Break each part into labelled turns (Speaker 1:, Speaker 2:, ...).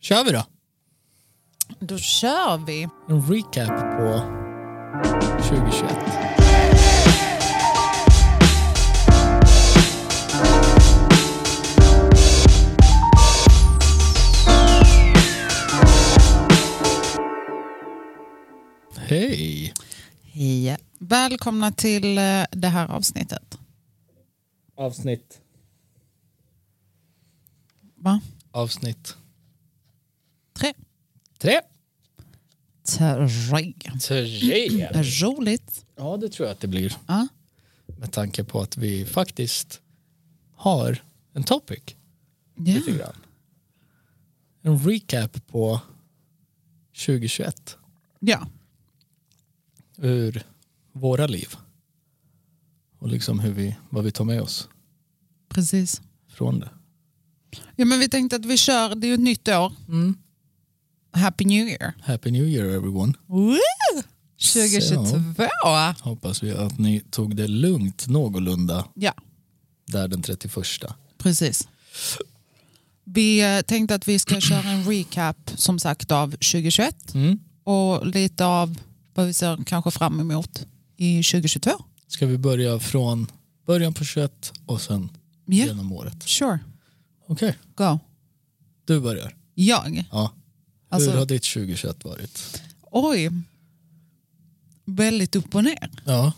Speaker 1: Kör vi då?
Speaker 2: Då kör vi.
Speaker 1: En recap på 2021. Hej!
Speaker 2: Hej. Välkomna till eh, det här avsnittet.
Speaker 1: Avsnitt.
Speaker 2: Va?
Speaker 1: Avsnitt.
Speaker 2: Tre.
Speaker 1: Tre.
Speaker 2: Tre.
Speaker 1: Tre.
Speaker 2: Roligt.
Speaker 1: Ja, det tror jag att det blir.
Speaker 2: Ja.
Speaker 1: Med tanke på att vi faktiskt har en topic.
Speaker 2: Ja.
Speaker 1: lite grann. En recap på 2021
Speaker 2: ja.
Speaker 1: ur våra liv. Och liksom hur vi, vad vi tar med oss
Speaker 2: Precis.
Speaker 1: från det.
Speaker 2: Ja, men vi tänkte att vi kör, det är ju ett nytt år. Happy New Year.
Speaker 1: Happy New Year everyone.
Speaker 2: Woo! 2022.
Speaker 1: Hoppas vi att ni tog det lugnt någorlunda
Speaker 2: Ja,
Speaker 1: där den 31.
Speaker 2: precis. Vi eh, tänkte att vi ska köra en recap som sagt av 2021
Speaker 1: Mm.
Speaker 2: och lite av vad vi ser kanske fram emot i 2022.
Speaker 1: Ska vi börja från början på 21 och sen
Speaker 2: Ja,
Speaker 1: genom året?
Speaker 2: sure.
Speaker 1: Okej,
Speaker 2: Go.
Speaker 1: du börjar.
Speaker 2: Jag?
Speaker 1: Ja.
Speaker 2: Alltså-
Speaker 1: Hur har ditt 2021 varit?
Speaker 2: Oj. Väldigt upp och ner.
Speaker 1: Ja.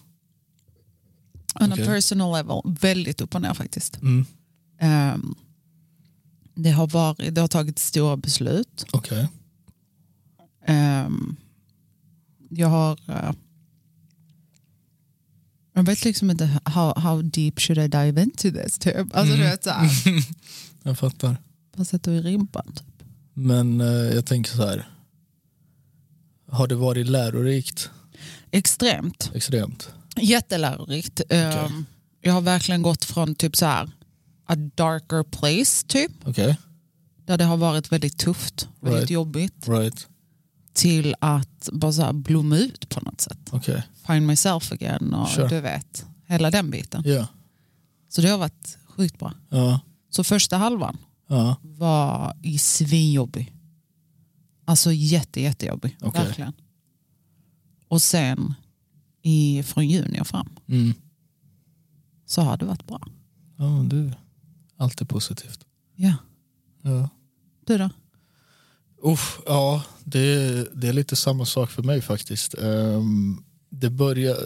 Speaker 2: On
Speaker 1: Okej.
Speaker 2: a personal level. Väldigt upp och ner faktiskt.
Speaker 1: Mm.
Speaker 2: Ehm, det, har varit, det har tagit stora beslut.
Speaker 1: Okej.
Speaker 2: Ehm, jag har... eh, jag vet liksom inte how, how deep should I dive into this typ. Alltså du vet såhär,
Speaker 1: Jag fattar.
Speaker 2: vad sätter vi i rumpan? Typ.
Speaker 1: Men eh, jag tänker så här. Har det varit lärorikt?
Speaker 2: Extremt.
Speaker 1: Extremt.
Speaker 2: Jättelärorikt. Ehm,
Speaker 1: Okej.
Speaker 2: Jag har verkligen gått från typ så här a darker place typ
Speaker 1: Okej.
Speaker 2: där det har varit väldigt tufft, väldigt
Speaker 1: Right.
Speaker 2: jobbigt
Speaker 1: Right.
Speaker 2: till att bara så här blomma ut på något sätt.
Speaker 1: Okej.
Speaker 2: Find myself again och
Speaker 1: Sure.
Speaker 2: du vet, hela den biten.
Speaker 1: Ja.
Speaker 2: Så det har varit sjukt bra.
Speaker 1: Ja.
Speaker 2: Så första halvan
Speaker 1: Ja.
Speaker 2: var i svinjobbig. Alltså jätte, jättejobbig.
Speaker 1: Okej.
Speaker 2: Verkligen. Och sen i, från juni och fram
Speaker 1: Mm.
Speaker 2: så har det varit bra.
Speaker 1: Ja, men du. Allt är positivt.
Speaker 2: Ja.
Speaker 1: Ja.
Speaker 2: Du då?
Speaker 1: Uff, ja, det, det är lite samma sak för mig faktiskt. Ehm, det börjar...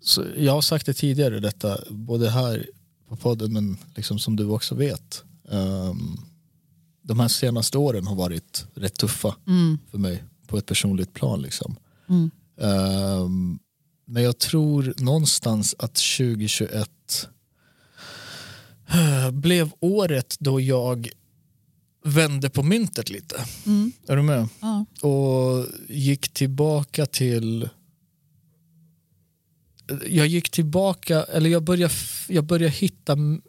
Speaker 1: Så jag har sagt det tidigare, detta, både här på podden men liksom som du också vet. Ehm, de här senaste åren har varit rätt tuffa för mig på ett personligt plan. Liksom.
Speaker 2: Mm.
Speaker 1: Ehm, men jag tror någonstans att 2021 eh, blev året då jag vände på myntet lite.
Speaker 2: Mm.
Speaker 1: Är du med?
Speaker 2: Ja.
Speaker 1: Och gick tillbaka till... Jag gick tillbaka, eller jag började, f- jag började hitta m-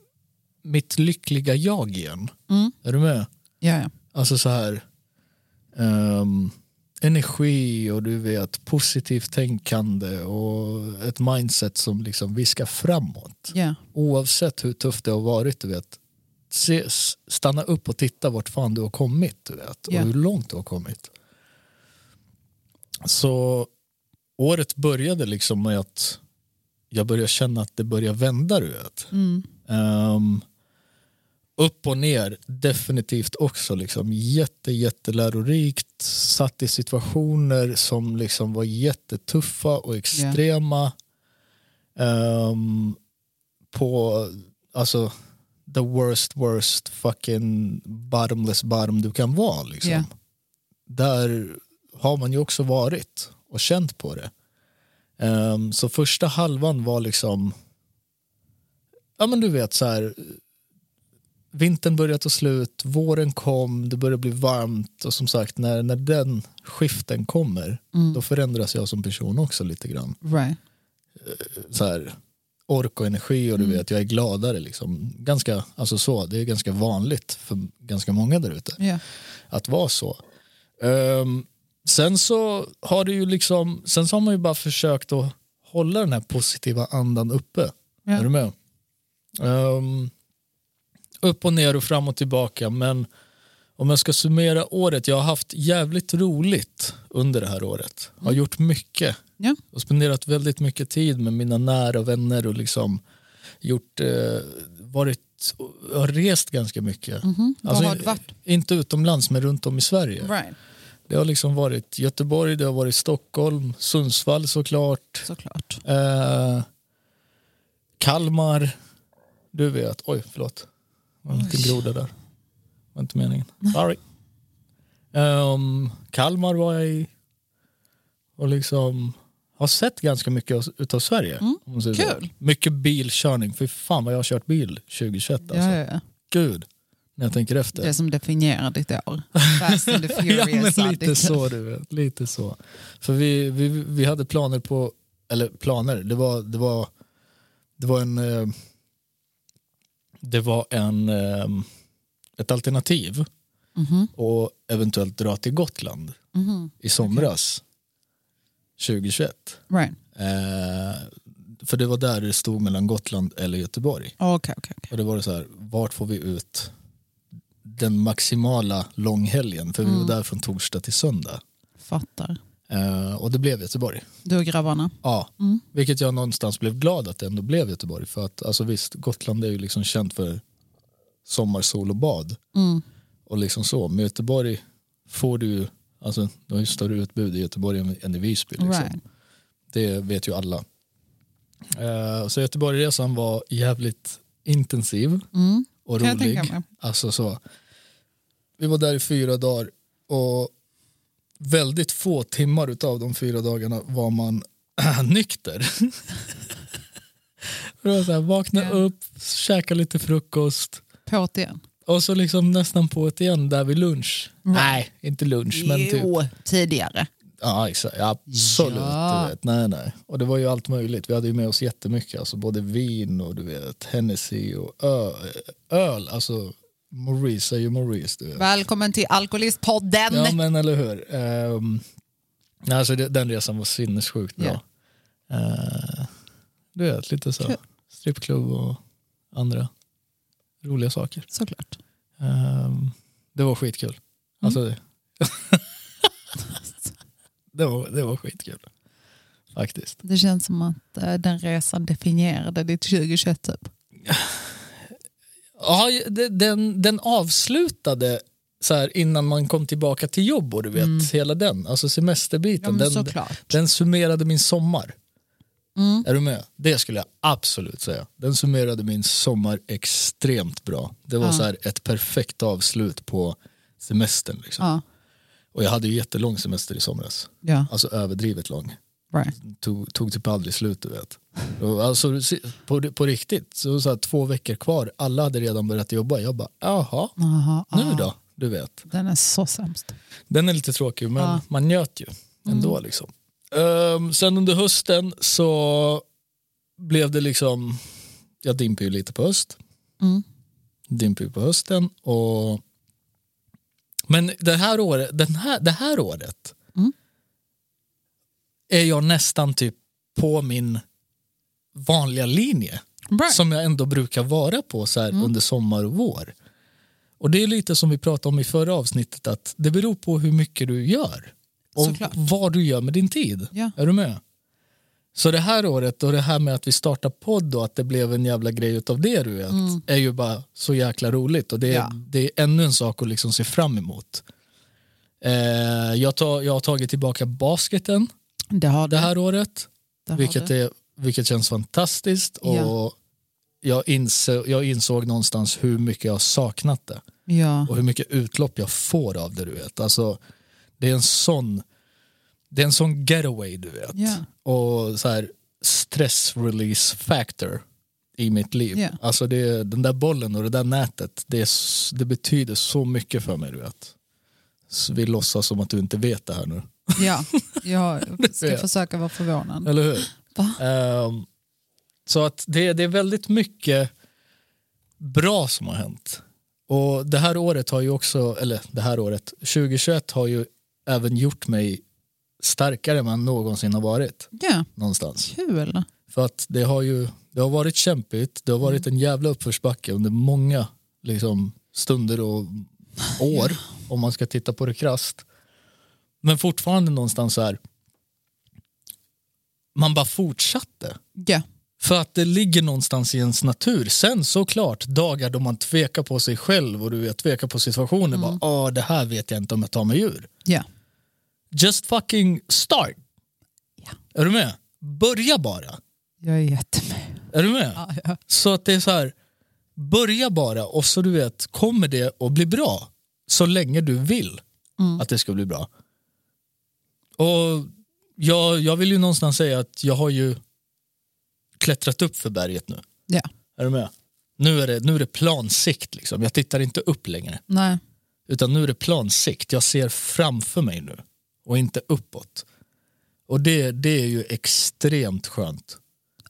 Speaker 1: mitt lyckliga jag igen.
Speaker 2: Mm.
Speaker 1: Är du med?
Speaker 2: Ja, ja.
Speaker 1: Alltså så här... ehm, energi och du vet positivt tänkande och ett mindset som liksom viskar framåt.
Speaker 2: ja.
Speaker 1: Oavsett hur tufft det har varit, du vet. Se, s- stanna upp och titta vart fan du har kommit, du vet.
Speaker 2: Ja.
Speaker 1: Och hur långt du har kommit. Så året började liksom med att jag började känna att det började vända, du vet.
Speaker 2: Mm.
Speaker 1: Ehm, upp och ner, definitivt också. Liksom. Jätte, jättelärorikt. Satt i situationer som liksom var jättetuffa och extrema. Ehm, på, alltså, the worst, worst fucking bottomless bottom du kan vara. Liksom.
Speaker 2: Ja.
Speaker 1: Där har man ju också varit och känt på det. Ehm, så första halvan var liksom, ja men du vet så här, vintern började ta slut, våren kom, det började bli varmt och som sagt när, när den skiften kommer
Speaker 2: Mm.
Speaker 1: då förändras jag som person också lite grann.
Speaker 2: Right.
Speaker 1: Så här, ork och energi och du vet, jag är gladare liksom. Ganska, alltså så, det är ganska vanligt för ganska många där ute
Speaker 2: Ja.
Speaker 1: att vara så. Ehm, sen så har det ju liksom, sen så har man ju bara försökt att hålla den här positiva andan uppe.
Speaker 2: Ja.
Speaker 1: Är du med? Ehm, upp och ner och fram och tillbaka men Om jag ska summera året, jag har haft jävligt roligt under det här året. Har gjort mycket.
Speaker 2: Mm. Ja.
Speaker 1: Och spenderat väldigt mycket tid med mina nära vänner och liksom gjort, eh, varit, jag har rest ganska mycket.
Speaker 2: Vad Mm-hmm.
Speaker 1: Alltså,
Speaker 2: har du varit?
Speaker 1: Inte utomlands men runt om i Sverige.
Speaker 2: Right,
Speaker 1: Det har liksom varit Göteborg, det har varit Stockholm, Sundsvall såklart.
Speaker 2: såklart.
Speaker 1: Eh, Kalmar. Du vet. Oj, förlåt. Det var en liten
Speaker 2: Oj.
Speaker 1: groda där. Det var inte meningen. Sorry. Ehm, Kalmar var jag i. Och liksom har sett ganska mycket av- utav Sverige. om man säger så.
Speaker 2: Mm, kul.
Speaker 1: Mycket bilkörning. Fy fan vad jag har kört bil 2021. Alltså.
Speaker 2: Ja, ja, ja.
Speaker 1: Gud, när jag tänker efter.
Speaker 2: Det som definierar ditt år. Fast and the
Speaker 1: Ja,
Speaker 2: furious
Speaker 1: men lite
Speaker 2: addict.
Speaker 1: så, du vet. Lite så. För vi, vi, vi hade planer på, eller planer, det var, det var, det var en, eh, det var en, eh, ett alternativ
Speaker 2: Mhm,
Speaker 1: och eventuellt dra till Gotland
Speaker 2: mhm.
Speaker 1: i somras 2021.
Speaker 2: Right.
Speaker 1: Eh, för det var där det stod mellan Gotland eller Göteborg.
Speaker 2: Okej, okej. okej.
Speaker 1: Och det var det så här, vart får vi ut den maximala långhelgen? För vi var där från torsdag till söndag.
Speaker 2: Fattar.
Speaker 1: Eh, och det blev Göteborg.
Speaker 2: Du och grabbarna? Mm.
Speaker 1: Ja, vilket jag någonstans blev glad att det ändå blev Göteborg. För att alltså visst, Gotland är ju liksom känt för sommarsol och bad.
Speaker 2: Mm.
Speaker 1: Och liksom så, med Göteborg får du ju, alltså du har ju större utbud i Göteborg än, än i Visby. Liksom.
Speaker 2: Right.
Speaker 1: Det vet ju alla. Eh, så Göteborgresan var jävligt intensiv
Speaker 2: Mm.
Speaker 1: och
Speaker 2: Kan jag
Speaker 1: rolig.
Speaker 2: tänka mig.
Speaker 1: Alltså så. Vi var där i fyra dagar och väldigt få timmar utav de fyra dagarna var man nykter. det var så här, vakna
Speaker 2: Ja.
Speaker 1: upp, käka lite frukost
Speaker 2: På't igen?
Speaker 1: och så liksom nästan på ett igen där vid lunch.
Speaker 2: Mm.
Speaker 1: Nej, inte lunch men typ.
Speaker 2: tidigare.
Speaker 1: Ja, exakt. Ja, absolut.
Speaker 2: Ja.
Speaker 1: Du vet. Nej, nej. Och det var ju allt möjligt. Vi hade ju med oss jättemycket. Alltså både vin och du vet, Hennessy och ö- öl. Alltså, Maurice är ju Maurice. Du vet.
Speaker 2: Välkommen till Alkoholistpodden!
Speaker 1: Ja, men eller hur. Ehm, nej, alltså, det, den resan var sinnessjukt bra.
Speaker 2: Ja.
Speaker 1: Eh, du vet, lite så.
Speaker 2: Kul.
Speaker 1: Strippklubb och andra roliga saker.
Speaker 2: Såklart.
Speaker 1: Ehm, det var skitkul.
Speaker 2: Mm.
Speaker 1: Alltså, det. det, var, det var skitkul. Faktiskt.
Speaker 2: Det känns som att eh, den resan definierade ditt 2021 typ.
Speaker 1: Ja, det- den, den avslutade så här, innan man kom tillbaka till jobb och du vet, hela den, alltså
Speaker 2: Mm. Ja,
Speaker 1: semesterbiten.
Speaker 2: men
Speaker 1: den,
Speaker 2: såklart.
Speaker 1: den summerade min sommar.
Speaker 2: Mm.
Speaker 1: Är du med? Det skulle jag absolut säga. Den summerade min sommar extremt bra. Det var
Speaker 2: Ja.
Speaker 1: så här, ett perfekt avslut på semestern. Liksom.
Speaker 2: Ja,
Speaker 1: Och jag hade ju jättelång semester i somras.
Speaker 2: ja,
Speaker 1: Alltså överdrivet lång.
Speaker 2: right.
Speaker 1: Tog, tog typ aldrig slut du vet. Och Alltså, på, på riktigt, så, så här, två veckor kvar, alla hade redan börjat jobba. Jag bara, jaha.
Speaker 2: Aha,
Speaker 1: Nu
Speaker 2: ja.
Speaker 1: då? Du vet.
Speaker 2: Den är så sämst.
Speaker 1: Den är lite tråkig men
Speaker 2: Ja. Mm.
Speaker 1: man njöt ju ändå. Liksom. Ehm, sen under hösten så blev det liksom, jag dimper ju lite på höst.
Speaker 2: Mm.
Speaker 1: Dimper ju på hösten och men det här året, den här, det här året
Speaker 2: Mm.
Speaker 1: är jag nästan typ på min vanliga linje
Speaker 2: Right. Mm.
Speaker 1: som jag ändå brukar vara på så här under sommar och vår. Och det är lite som vi pratade om i förra avsnittet att det beror på hur mycket du gör och
Speaker 2: Såklart.
Speaker 1: vad du gör med din tid.
Speaker 2: Ja.
Speaker 1: Är du med? Så det här året och det här med att vi startar podd och att det blev en jävla grej utav det du vet är ju bara så jäkla roligt och det är,
Speaker 2: Mm. Ja.
Speaker 1: det är ännu en sak att liksom se fram emot. Eh, jag, tar, jag har tagit tillbaka basketen
Speaker 2: Det har du.
Speaker 1: det här året.
Speaker 2: det har
Speaker 1: Vilket,
Speaker 2: du.
Speaker 1: är, vilket känns fantastiskt och
Speaker 2: Ja.
Speaker 1: jag, insåg, jag insåg någonstans hur mycket jag har saknat det
Speaker 2: Ja.
Speaker 1: och hur mycket utlopp jag får av det. Du vet. Alltså, det är en sån det är en sån getaway du vet
Speaker 2: Ja.
Speaker 1: och så här, stress release factor i mitt liv.
Speaker 2: Ja.
Speaker 1: Alltså det, är- den där bollen och det där nätet det, är, s- det betyder så mycket för mig. Du vet. Så vi låtsas som att du inte vet det här nu.
Speaker 2: ja, jag ska
Speaker 1: vet.
Speaker 2: försöka vara förvånad.
Speaker 1: Eller hur?
Speaker 2: Va?
Speaker 1: Ehm, så att det, det är väldigt mycket bra som har hänt. Och det här året har ju också, eller det här året, 2021 har ju även gjort mig starkare än man någonsin har varit
Speaker 2: Ja,
Speaker 1: någonstans.
Speaker 2: kul.
Speaker 1: För att det har ju det har varit
Speaker 2: Mm.
Speaker 1: kämpigt, det har varit en jävla uppförsbacke under många liksom, stunder och år om man ska titta på det krasst. Men fortfarande någonstans så här. Man bara fortsatte.
Speaker 2: Ja.
Speaker 1: För att det ligger någonstans i ens natur. Sen såklart, dagar då man tvekar på sig själv och du vet, tvekar på situationen. Bara,
Speaker 2: Mm.
Speaker 1: ah, det här vet jag inte om jag tar mig ur.
Speaker 2: Ja.
Speaker 1: Just fucking start.
Speaker 2: Ja.
Speaker 1: Är du med? Börja bara.
Speaker 2: Jag är jättemycket.
Speaker 1: Är du med?
Speaker 2: Ja, ja.
Speaker 1: Så att det är så här, börja bara och så du vet, kommer det att bli bra? Så länge du vill att det ska bli bra. Och jag, jag vill ju någonstans säga att jag har ju klättrat upp för berget nu.
Speaker 2: ja.
Speaker 1: Är du med? Nu är det, nu är det plansikt, liksom. jag tittar inte upp längre.
Speaker 2: Nej.
Speaker 1: Utan nu är det plansikt, jag ser framför mig nu och inte uppåt. Och det, det är ju extremt skönt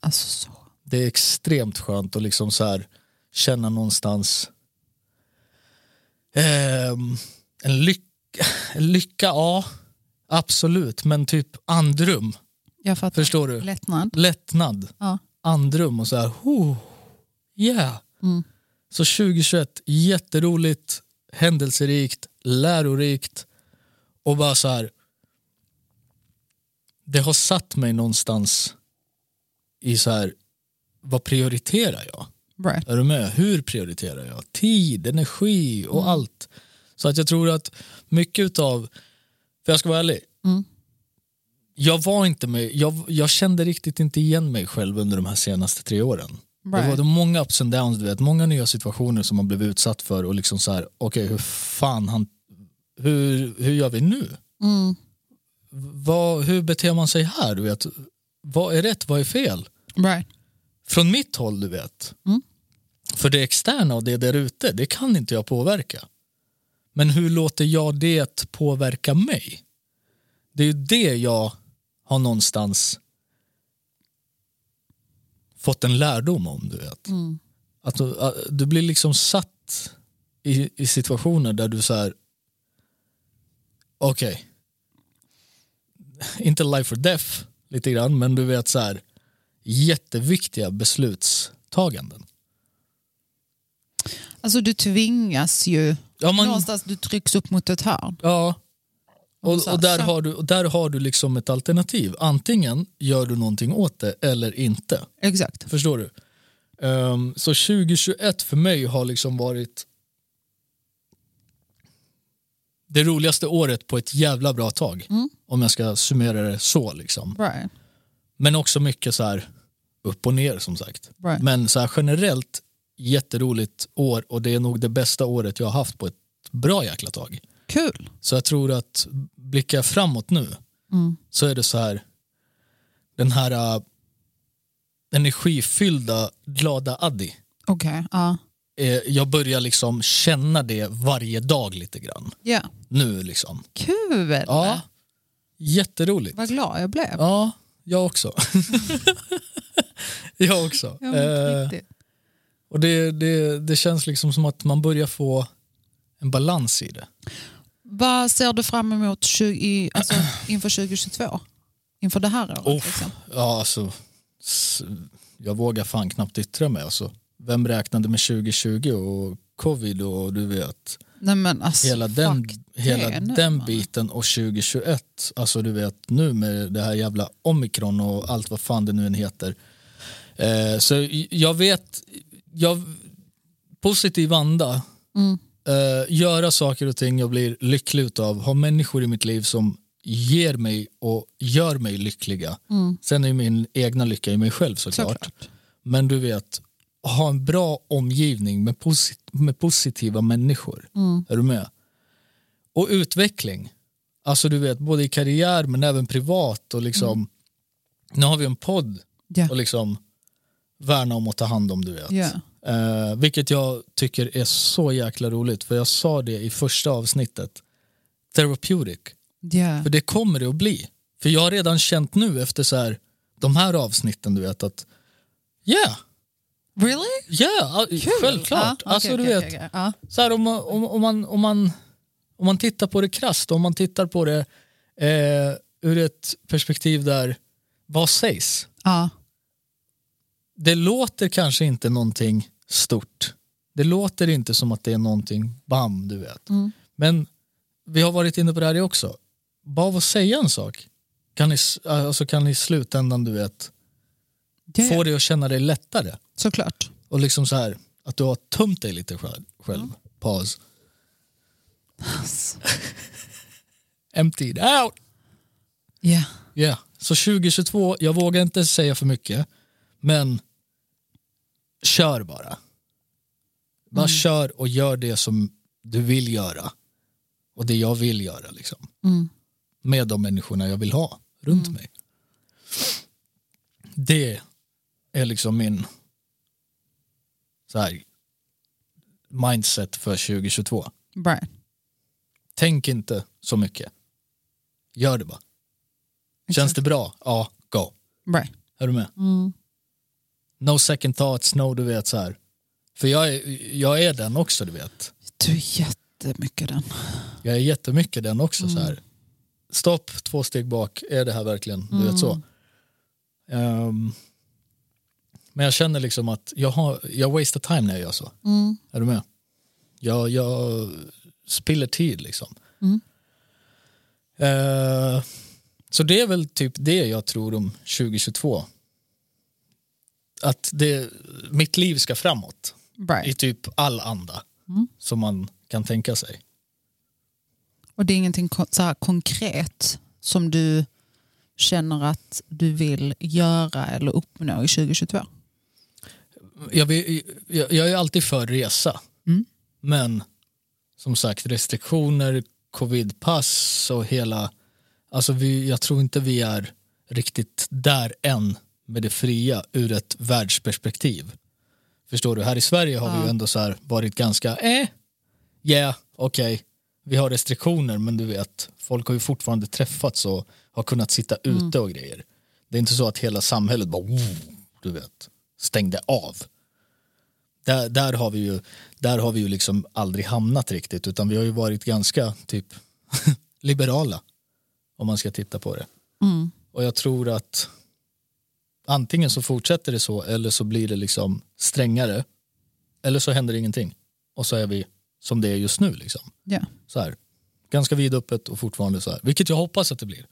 Speaker 2: Alltså så.
Speaker 1: det är extremt skönt att liksom så här känna någonstans ehm, en lycka, lycka, ja absolut, men typ andrum,
Speaker 2: Jag fattar.
Speaker 1: förstår du?
Speaker 2: Lättnad.
Speaker 1: Lättnad,
Speaker 2: Ja.
Speaker 1: andrum och så här, ho, yeah.
Speaker 2: Mm.
Speaker 1: Så 2021, jätteroligt, händelserikt, lärorikt och bara så här, det har satt mig någonstans i så här, vad prioriterar jag?
Speaker 2: Right.
Speaker 1: Är du med? Hur prioriterar jag? Tid, energi och
Speaker 2: Mm.
Speaker 1: allt. Så att jag tror att mycket utav, för jag ska vara ärlig,
Speaker 2: Mm.
Speaker 1: jag var inte med, jag, jag kände riktigt inte igen mig själv under de här senaste tre åren. Det var
Speaker 2: Right.
Speaker 1: de många ups and downs, du vet, många nya situationer som man blev utsatt för och liksom så här, okej hur fan, han, hur, hur gör vi nu?
Speaker 2: Mm.
Speaker 1: Vad, hur beter man sig här? Du vet? Vad är rätt, vad är fel?
Speaker 2: Right.
Speaker 1: från mitt håll, du vet.
Speaker 2: Mm.
Speaker 1: För det externa och det där ute, det kan inte jag påverka. Men hur låter jag det påverka mig? Det är ju det jag har någonstans fått en lärdom om, du vet.
Speaker 2: Mm.
Speaker 1: Att du, att du blir liksom satt i, i situationer där du så här, okej, inte life or death lite grann, men du vet så här, jätteviktiga beslutstaganden.
Speaker 2: Alltså du tvingas ju.
Speaker 1: Ja, man,
Speaker 2: Någonstans du trycks upp mot ett hörn.
Speaker 1: ja.
Speaker 2: Och
Speaker 1: Och,
Speaker 2: så-
Speaker 1: och, där
Speaker 2: så-
Speaker 1: har du, och där har du liksom ett alternativ. Antingen gör du någonting åt det eller inte.
Speaker 2: Exakt.
Speaker 1: Förstår du? Ehm, så 2021 för mig har liksom varit det roligaste året på ett jävla bra tag. Om jag ska summera det så. liksom.
Speaker 2: Right.
Speaker 1: Men också mycket så här upp och ner som sagt.
Speaker 2: Right.
Speaker 1: Men så här generellt jätteroligt år och det är nog det bästa året jag har haft på ett bra jäkla tag.
Speaker 2: Kul.
Speaker 1: Så jag tror att blickar jag framåt nu
Speaker 2: Mm.
Speaker 1: så är det så här den här äh, energifyllda glada Addi.
Speaker 2: Okej. Ja.
Speaker 1: Eh, jag börjar liksom känna det varje dag lite grann.
Speaker 2: Ja.
Speaker 1: Nu liksom.
Speaker 2: Kul.
Speaker 1: Ja, jätteroligt.
Speaker 2: Vad glad jag blev.
Speaker 1: Ja, jag också. jag också.
Speaker 2: Ja, men
Speaker 1: Eh,
Speaker 2: riktigt.
Speaker 1: och det, det, det känns liksom som att man börjar få en balans i det.
Speaker 2: Vad ser du fram emot 20, i- alltså, inför 2022? Inför det här året?
Speaker 1: Uff.
Speaker 2: liksom?
Speaker 1: Ja, alltså, s- jag vågar fan knappt yttra mig. Alltså. Vem räknade med 2020 och covid och du vet
Speaker 2: Nej, men alltså,
Speaker 1: hela den,
Speaker 2: fuck
Speaker 1: hela
Speaker 2: det nu,
Speaker 1: den
Speaker 2: man.
Speaker 1: biten och 2021, alltså du vet nu med det här jävla omikron och allt vad fan det nu än heter. Eh, så j- jag vet, jag, positiv anda,
Speaker 2: Mm.
Speaker 1: eh, göra saker och ting jag blir lycklig utav, ha människor i mitt liv som ger mig och gör mig lyckliga.
Speaker 2: Mm.
Speaker 1: Sen är ju min egna lycka i mig själv såklart.
Speaker 2: Såklart.
Speaker 1: Men du vet, ha en bra omgivning med, posit- med positiva människor.
Speaker 2: Mm.
Speaker 1: Är du med? Och utveckling. Alltså du vet, både i karriär men även privat och liksom nu har vi en podd
Speaker 2: Mm. Ja.
Speaker 1: och liksom värna om och ta hand om du vet.
Speaker 2: Ja.
Speaker 1: Eh, vilket jag tycker är så jäkla roligt för jag sa det i första avsnittet. Therapeutic.
Speaker 2: Ja.
Speaker 1: För det kommer det att bli. För jag har redan känt nu efter så här, de här avsnitten du vet att yeah,
Speaker 2: Really?
Speaker 1: yeah,
Speaker 2: Kul.
Speaker 1: självklart.
Speaker 2: Ja, okej,
Speaker 1: alltså du
Speaker 2: okej,
Speaker 1: vet,
Speaker 2: okej, okej. Ja.
Speaker 1: så här, om, man- om, om, man, om, man, om man tittar på det krasst, om man tittar på det eh, ur ett perspektiv där, vad sägs?
Speaker 2: Ja.
Speaker 1: Det låter kanske inte någonting stort. Det låter inte som att det är någonting, bam, du vet.
Speaker 2: Mm.
Speaker 1: Men vi har varit inne på det här också. Bara av att säga en sak kan ni, s- alltså kan ni i slutändan du vet,
Speaker 2: Det,
Speaker 1: få dig att känna dig lättare.
Speaker 2: Såklart.
Speaker 1: Och liksom så här, att du har tömt dig lite själv. själv. Paus. Emptied out.
Speaker 2: Ja.
Speaker 1: Yeah. Så 2022, jag vågar inte säga för mycket, men kör bara. Bara kör och gör det som du vill göra och det jag vill göra liksom.
Speaker 2: Mm.
Speaker 1: med de människorna jag vill ha runt mig. Det är liksom min så här, mindset för 2022.
Speaker 2: Bra.
Speaker 1: Tänk inte så mycket. Gör det bara. Känns det bra? Ja, go.
Speaker 2: Bra.
Speaker 1: Är du med?
Speaker 2: Mm.
Speaker 1: No second thoughts, no du vet så här. För jag är, jag är den också du vet.
Speaker 2: Du är jättemycket den.
Speaker 1: Jag är jättemycket den också så här. Stopp, två steg bak, är det här verkligen, du vet så. Ehm, men jag känner liksom att jag, har, jag wasted time när jag gör så.
Speaker 2: Mm.
Speaker 1: Är du med? Jag, jag spiller tid liksom.
Speaker 2: Mm.
Speaker 1: Eh, så det är väl typ det jag tror om 2022. Att det, mitt liv ska framåt
Speaker 2: Bra.
Speaker 1: i typ all anda
Speaker 2: Mm.
Speaker 1: som man kan tänka sig.
Speaker 2: Och det är ingenting kon- så här konkret som du känner att du vill göra eller uppnå i 2022?
Speaker 1: Jag, vill, jag, jag är alltid för resa.
Speaker 2: Mm.
Speaker 1: Men som sagt restriktioner, covidpass och hela... Alltså vi, jag tror inte vi är riktigt där än med det fria ur ett världsperspektiv. Förstår du? Här i Sverige har vi ju ändå så här varit ganska... Eh, yeah, okej. Vi har restriktioner men du vet, folk har ju fortfarande träffats och har kunnat sitta ute och grejer. Det är inte så att hela samhället bara... "Oh", Du vet, stängde av. Där, där har vi ju, där har vi ju liksom aldrig hamnat riktigt utan vi har ju varit ganska typ liberala om man ska titta på det.
Speaker 2: Mm.
Speaker 1: Och jag tror att antingen så fortsätter det så eller så blir det liksom strängare eller så händer ingenting och så är vi som det är just nu liksom.
Speaker 2: Ja.
Speaker 1: Så här. Ganska vidöppet och fortfarande så här, vilket jag hoppas att det blir.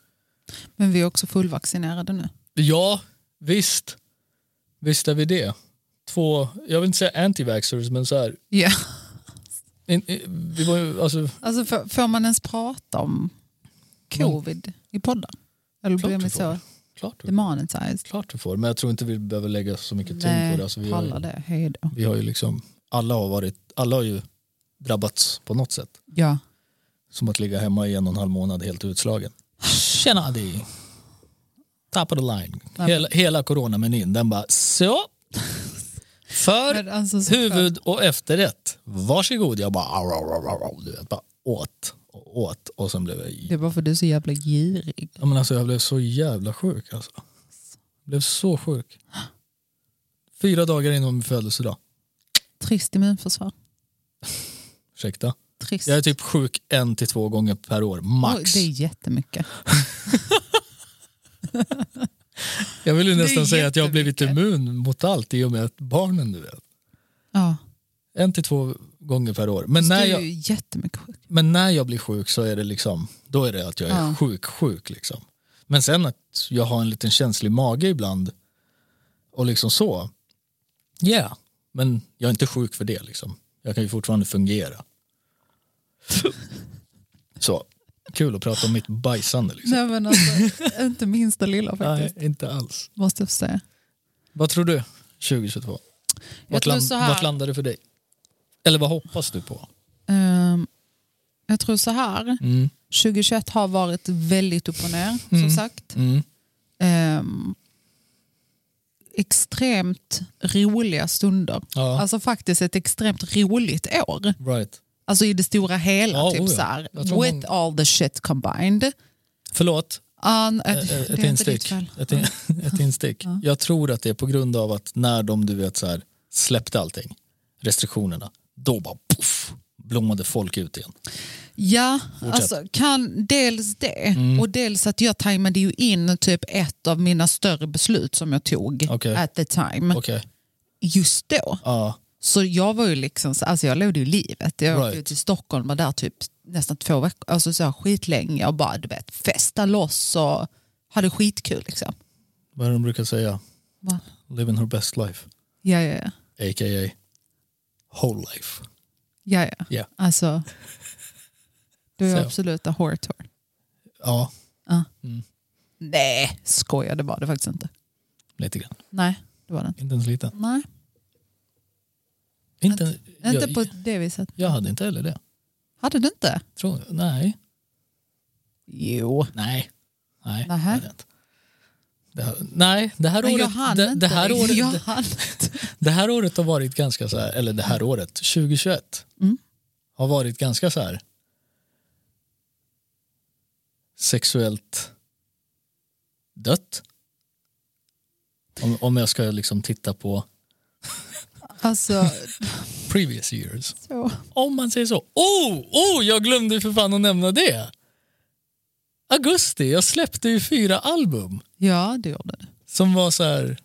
Speaker 2: Men vi är också fullvaccinerade nu.
Speaker 1: Ja, visst. Visst är vi det. Två, jag vill inte säga anti-vaxxers men så här,
Speaker 2: Ja.
Speaker 1: In, in, vi var ju, alltså,
Speaker 2: Alltså får, får man ens prata om covid i podden? Eller
Speaker 1: Klart
Speaker 2: blir
Speaker 1: du
Speaker 2: vi
Speaker 1: får.
Speaker 2: så
Speaker 1: klart, du,
Speaker 2: demonetized?
Speaker 1: klart du får, men jag tror inte vi behöver lägga så mycket tyngd på
Speaker 2: Nej,
Speaker 1: det. Alltså, vi, har,
Speaker 2: pallar
Speaker 1: ju-
Speaker 2: det. Hej då.
Speaker 1: vi har ju liksom, alla har, varit, alla har ju drabbats på något sätt.
Speaker 2: Ja.
Speaker 1: Som att ligga hemma i en och en halv månad helt utslagen. Tjena Adi! Top of the line. Hela, hela coronamenyn, den bara så. För
Speaker 2: Men alltså, så skönt.
Speaker 1: huvud och efterrätt. Varsågod. Jag bara, au, au, au, au, au, du vet, bara åt och åt och sen blev jag
Speaker 2: Det är bara för att du är så jävla girig.
Speaker 1: Ja, men alltså, jag blev så jävla sjuk. Alltså. Jag blev så sjuk. Fyra dagar innan min födelsedag.
Speaker 2: Trist immunförsvar.
Speaker 1: Ursäkta.
Speaker 2: Trist.
Speaker 1: Jag är typ sjuk en till två gånger per år,
Speaker 2: Oj,
Speaker 1: max.
Speaker 2: det är jättemycket.
Speaker 1: jag vill ju
Speaker 2: det är
Speaker 1: nästan säga att jag har blivit
Speaker 2: jättemycket.
Speaker 1: immun mot allt i och med att barnen du vet.
Speaker 2: Ja.
Speaker 1: En till två gånger per år. Men när,
Speaker 2: du är
Speaker 1: jag,
Speaker 2: ju jättemycket sjuk.
Speaker 1: men när jag blir sjuk så är det liksom, då är det att jag är
Speaker 2: Ja.
Speaker 1: sjuk, sjuk liksom. Men sen att jag har en liten känslig mage ibland och liksom så. Ja, yeah. men jag är inte sjuk för det liksom. Jag kan ju fortfarande fungera. så, kul att prata om mitt bajsande liksom.
Speaker 2: Nej men alltså, inte minsta lilla faktiskt.
Speaker 1: Nej, inte alls.
Speaker 2: Måste jag få säga.
Speaker 1: Vad tror du 2022? Vart,
Speaker 2: tror
Speaker 1: land,
Speaker 2: så här-
Speaker 1: vart landar det för dig? Eller vad hoppas du på?
Speaker 2: Ehm, jag tror så här,
Speaker 1: Mm.
Speaker 2: 2021 har varit väldigt upp och ner som sagt.
Speaker 1: Mm.
Speaker 2: Ehm, extremt roliga stunder.
Speaker 1: Ja,
Speaker 2: Alltså faktiskt ett extremt roligt år.
Speaker 1: right.
Speaker 2: Alltså i det stora hela.
Speaker 1: Ja,
Speaker 2: typ
Speaker 1: oja.
Speaker 2: så här.
Speaker 1: Jag tror
Speaker 2: With
Speaker 1: man-
Speaker 2: all the shit combined.
Speaker 1: Förlåt,
Speaker 2: Um,
Speaker 1: Ett,
Speaker 2: det
Speaker 1: ett
Speaker 2: är inte ditt
Speaker 1: instick.
Speaker 2: fel.
Speaker 1: Ett, in, ett instick. Jag tror att det är på grund av att när de du vet, så här, släppte allting, restriktionerna, då bara puff, blommade folk ut igen.
Speaker 2: Ja, alltså, kan dels det
Speaker 1: Mm.
Speaker 2: och dels att jag tajmade ju in typ ett av mina större beslut som jag tog
Speaker 1: Okej.
Speaker 2: at the time
Speaker 1: Okej,
Speaker 2: just då.
Speaker 1: ja,
Speaker 2: Så jag var ju liksom, så- alltså jag levde ju livet. Jag åkte
Speaker 1: Right.
Speaker 2: ju till Stockholm och där typ nästan två veckor, alltså så här skitlänge och bara du vet, festa loss och hade skitkul liksom.
Speaker 1: Vad är det de brukar säga?
Speaker 2: Va?
Speaker 1: Living her best life.
Speaker 2: Ja, ja, ja.
Speaker 1: A.k.a. whole life.
Speaker 2: ja, ja.
Speaker 1: Ja.
Speaker 2: Alltså, du är
Speaker 1: Så.
Speaker 2: absoluta hortor.
Speaker 1: Ja,
Speaker 2: Nej, skoja, det var det faktiskt inte.
Speaker 1: lite grann.
Speaker 2: Nej, det var det inte.
Speaker 1: Inte ens lite.
Speaker 2: Nej,
Speaker 1: Inte,
Speaker 2: inte
Speaker 1: jag,
Speaker 2: på det viset.
Speaker 1: jag hade inte heller det.
Speaker 2: Hade du inte?
Speaker 1: Tror, nej.
Speaker 2: Jo.
Speaker 1: Nej. Nej,
Speaker 2: Nähä.
Speaker 1: det är det inte. Det här, nej, det här,
Speaker 2: Men jag
Speaker 1: året,
Speaker 2: hann
Speaker 1: det,
Speaker 2: inte.
Speaker 1: det, här året,
Speaker 2: jag
Speaker 1: det,
Speaker 2: hann inte.
Speaker 1: det här året har varit ganska så här, eller det här året, 2021,
Speaker 2: Mm.
Speaker 1: har varit ganska så här sexuellt dött. Om, om jag ska liksom titta på
Speaker 2: Alltså,
Speaker 1: previous years.
Speaker 2: så.
Speaker 1: Om man säger så. Oh, oh, jag glömde ju för fan att nämna det. Augusti, jag släppte ju fyra album.
Speaker 2: Ja, det gjorde det.
Speaker 1: som var så här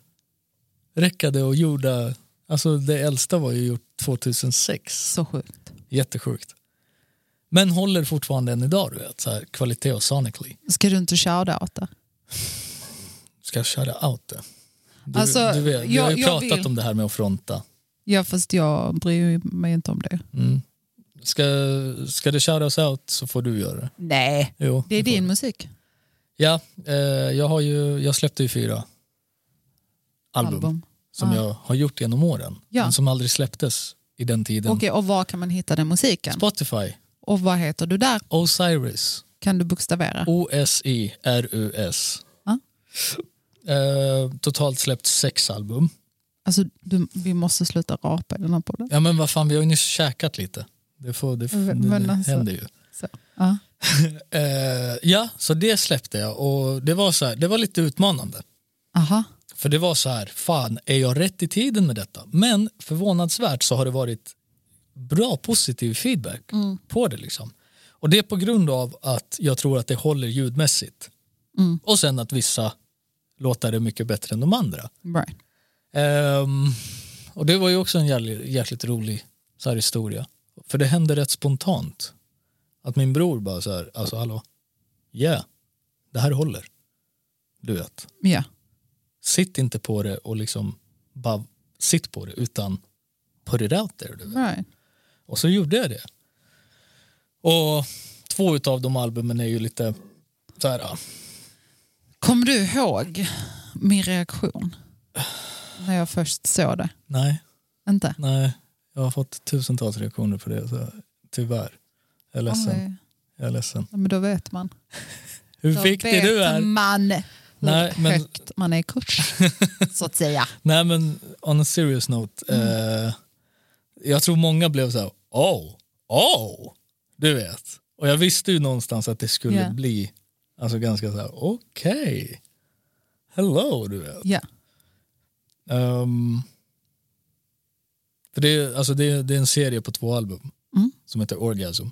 Speaker 1: räckade och gjorda. Alltså det äldsta var ju gjort 2006.
Speaker 2: Så sjukt.
Speaker 1: Jättesjukt. Men håller fortfarande än idag, du vet, så här, kvalitet och sonically.
Speaker 2: Ska du inte shoutouta?
Speaker 1: Ska jag köra out det? Du,
Speaker 2: Alltså,
Speaker 1: du vet, vi
Speaker 2: jag-
Speaker 1: har ju
Speaker 2: jag
Speaker 1: pratat
Speaker 2: vill.
Speaker 1: om det här med att fronta.
Speaker 2: Ja, fast jag bryr mig inte om det.
Speaker 1: Mm. Ska, ska det shoutouts out så får du göra det.
Speaker 2: Nej.
Speaker 1: Jo,
Speaker 2: Det är
Speaker 1: du får
Speaker 2: din musik.
Speaker 1: Ja, eh, jag, har ju, jag släppte ju fyra album, som
Speaker 2: Ah.
Speaker 1: jag har gjort genom åren.
Speaker 2: Ja.
Speaker 1: Men som aldrig släpptes i den tiden.
Speaker 2: Okej, och var kan man hitta den musiken?
Speaker 1: Spotify.
Speaker 2: Och vad heter du där?
Speaker 1: Osiris.
Speaker 2: Kan du bokstavera?
Speaker 1: O-S-I-R-U-S.
Speaker 2: Ja. Ah.
Speaker 1: Eh, totalt släppt sex album.
Speaker 2: Alltså, du, vi måste sluta rapa i den här podden.
Speaker 1: Ja men vad fan, vi har ju nyss käkat lite. Det, får, det,
Speaker 2: Men-
Speaker 1: det,
Speaker 2: men
Speaker 1: det
Speaker 2: alltså.
Speaker 1: händer ju.
Speaker 2: Så. Ja.
Speaker 1: Eh, ja, så det släppte jag och det var, så här, det var lite utmanande.
Speaker 2: Aha.
Speaker 1: För det var så här, fan är jag rätt i tiden med detta? Men förvånansvärt så har det varit bra positiv feedback
Speaker 2: Mm.
Speaker 1: på det. liksom. Och det är på grund av att jag tror att det håller ljudmässigt.
Speaker 2: Mm.
Speaker 1: Och sen att vissa låtar är mycket bättre än de andra.
Speaker 2: Right.
Speaker 1: Ehm, och det var ju också en jävligt, jäkligt rolig så här, historia. För det hände rätt spontant. Att min bror bara så här, alltså hallå, yeah, det här håller. Du vet
Speaker 2: Ja.
Speaker 1: sitt inte på det och liksom bara sitt på det utan put it out there. Du vet.
Speaker 2: Right.
Speaker 1: Och så gjorde jag det. Och två utav de albumen är ju lite så här, ah, ja,
Speaker 2: Kommer du ihåg min reaktion när jag först såg det?
Speaker 1: nej,
Speaker 2: Inte?
Speaker 1: nej, jag har fått tusentals reaktioner på det. Så här, tyvärr, jag är ledsen.
Speaker 2: Oj.
Speaker 1: Jag är ledsen.
Speaker 2: Ja, men då vet man.
Speaker 1: Hur
Speaker 2: Då
Speaker 1: viktig
Speaker 2: vet
Speaker 1: du är.
Speaker 2: man hur
Speaker 1: Nej, men-
Speaker 2: högt man är i kurs, så att säga.
Speaker 1: Nej men on a serious note,
Speaker 2: Mm.
Speaker 1: eh, jag tror många blev så här, oh, oh, du vet. Och jag visste ju någonstans att det skulle
Speaker 2: Ja.
Speaker 1: bli alltså ganska så här, okej, hello, du vet.
Speaker 2: Ja.
Speaker 1: Ehm, för det är, alltså det, är, det är en serie på två album
Speaker 2: Mm.
Speaker 1: som heter Orgasm.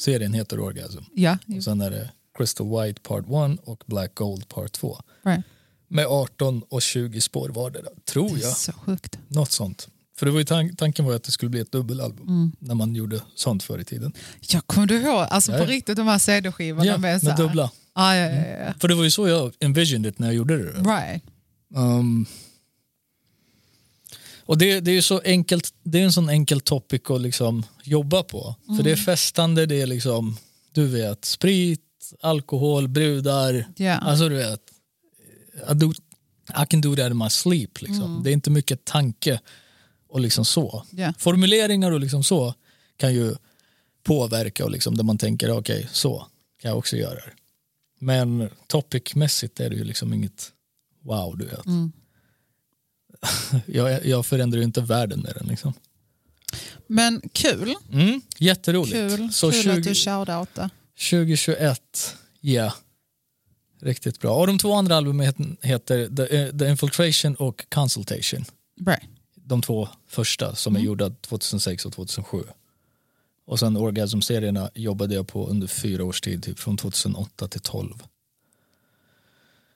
Speaker 1: Serien heter Orgasm.
Speaker 2: Ja,
Speaker 1: Och sen är det Crystal White Part 1 och Black Gold Part 2.
Speaker 2: right.
Speaker 1: Med 18 och 20 spår vardera, tror
Speaker 2: Det är
Speaker 1: jag.
Speaker 2: så sjukt.
Speaker 1: Något sånt. För det var ju tan- tanken var ju att det skulle bli ett dubbelalbum när man gjorde sånt förr i tiden.
Speaker 2: Jag kommer du ihåg, alltså
Speaker 1: Ja,
Speaker 2: på
Speaker 1: ja.
Speaker 2: riktigt de här CD-skivorna
Speaker 1: Ja,
Speaker 2: med,
Speaker 1: med
Speaker 2: så här-
Speaker 1: dubbla.
Speaker 2: Ja, ja, ja, ja.
Speaker 1: För det var ju så jag envisioned it när jag gjorde det.
Speaker 2: Right.
Speaker 1: Ehm, och det, det är ju så enkelt, det är en sån enkel topic att liksom jobba på. För det är festande, det är liksom, du vet, sprit, alkohol, brudar.
Speaker 2: Ja.
Speaker 1: Alltså du vet, I, do, I can do that in my sleep. Liksom. Det är inte mycket tanke och liksom så.
Speaker 2: Ja.
Speaker 1: Formuleringar och liksom så kan ju påverka och liksom där man tänker okej, så kan jag också göra det. Men topicmässigt är det ju liksom inget wow, du vet.
Speaker 2: Mm.
Speaker 1: jag, jag förändrar ju inte världen med den liksom.
Speaker 2: Men kul,
Speaker 1: Mm, jätteroligt.
Speaker 2: kul,
Speaker 1: så
Speaker 2: kul att
Speaker 1: 20,
Speaker 2: du shoutoutar.
Speaker 1: 2021, ja. Riktigt bra. Och de två andra albumen het- heter The, The Infiltration och Consultation.
Speaker 2: Right.
Speaker 1: De två första som är gjorda 2006 och 2007. Och sen Orgasm-serierna jobbade jag på under fyra års tid, typ från 2008 till 12.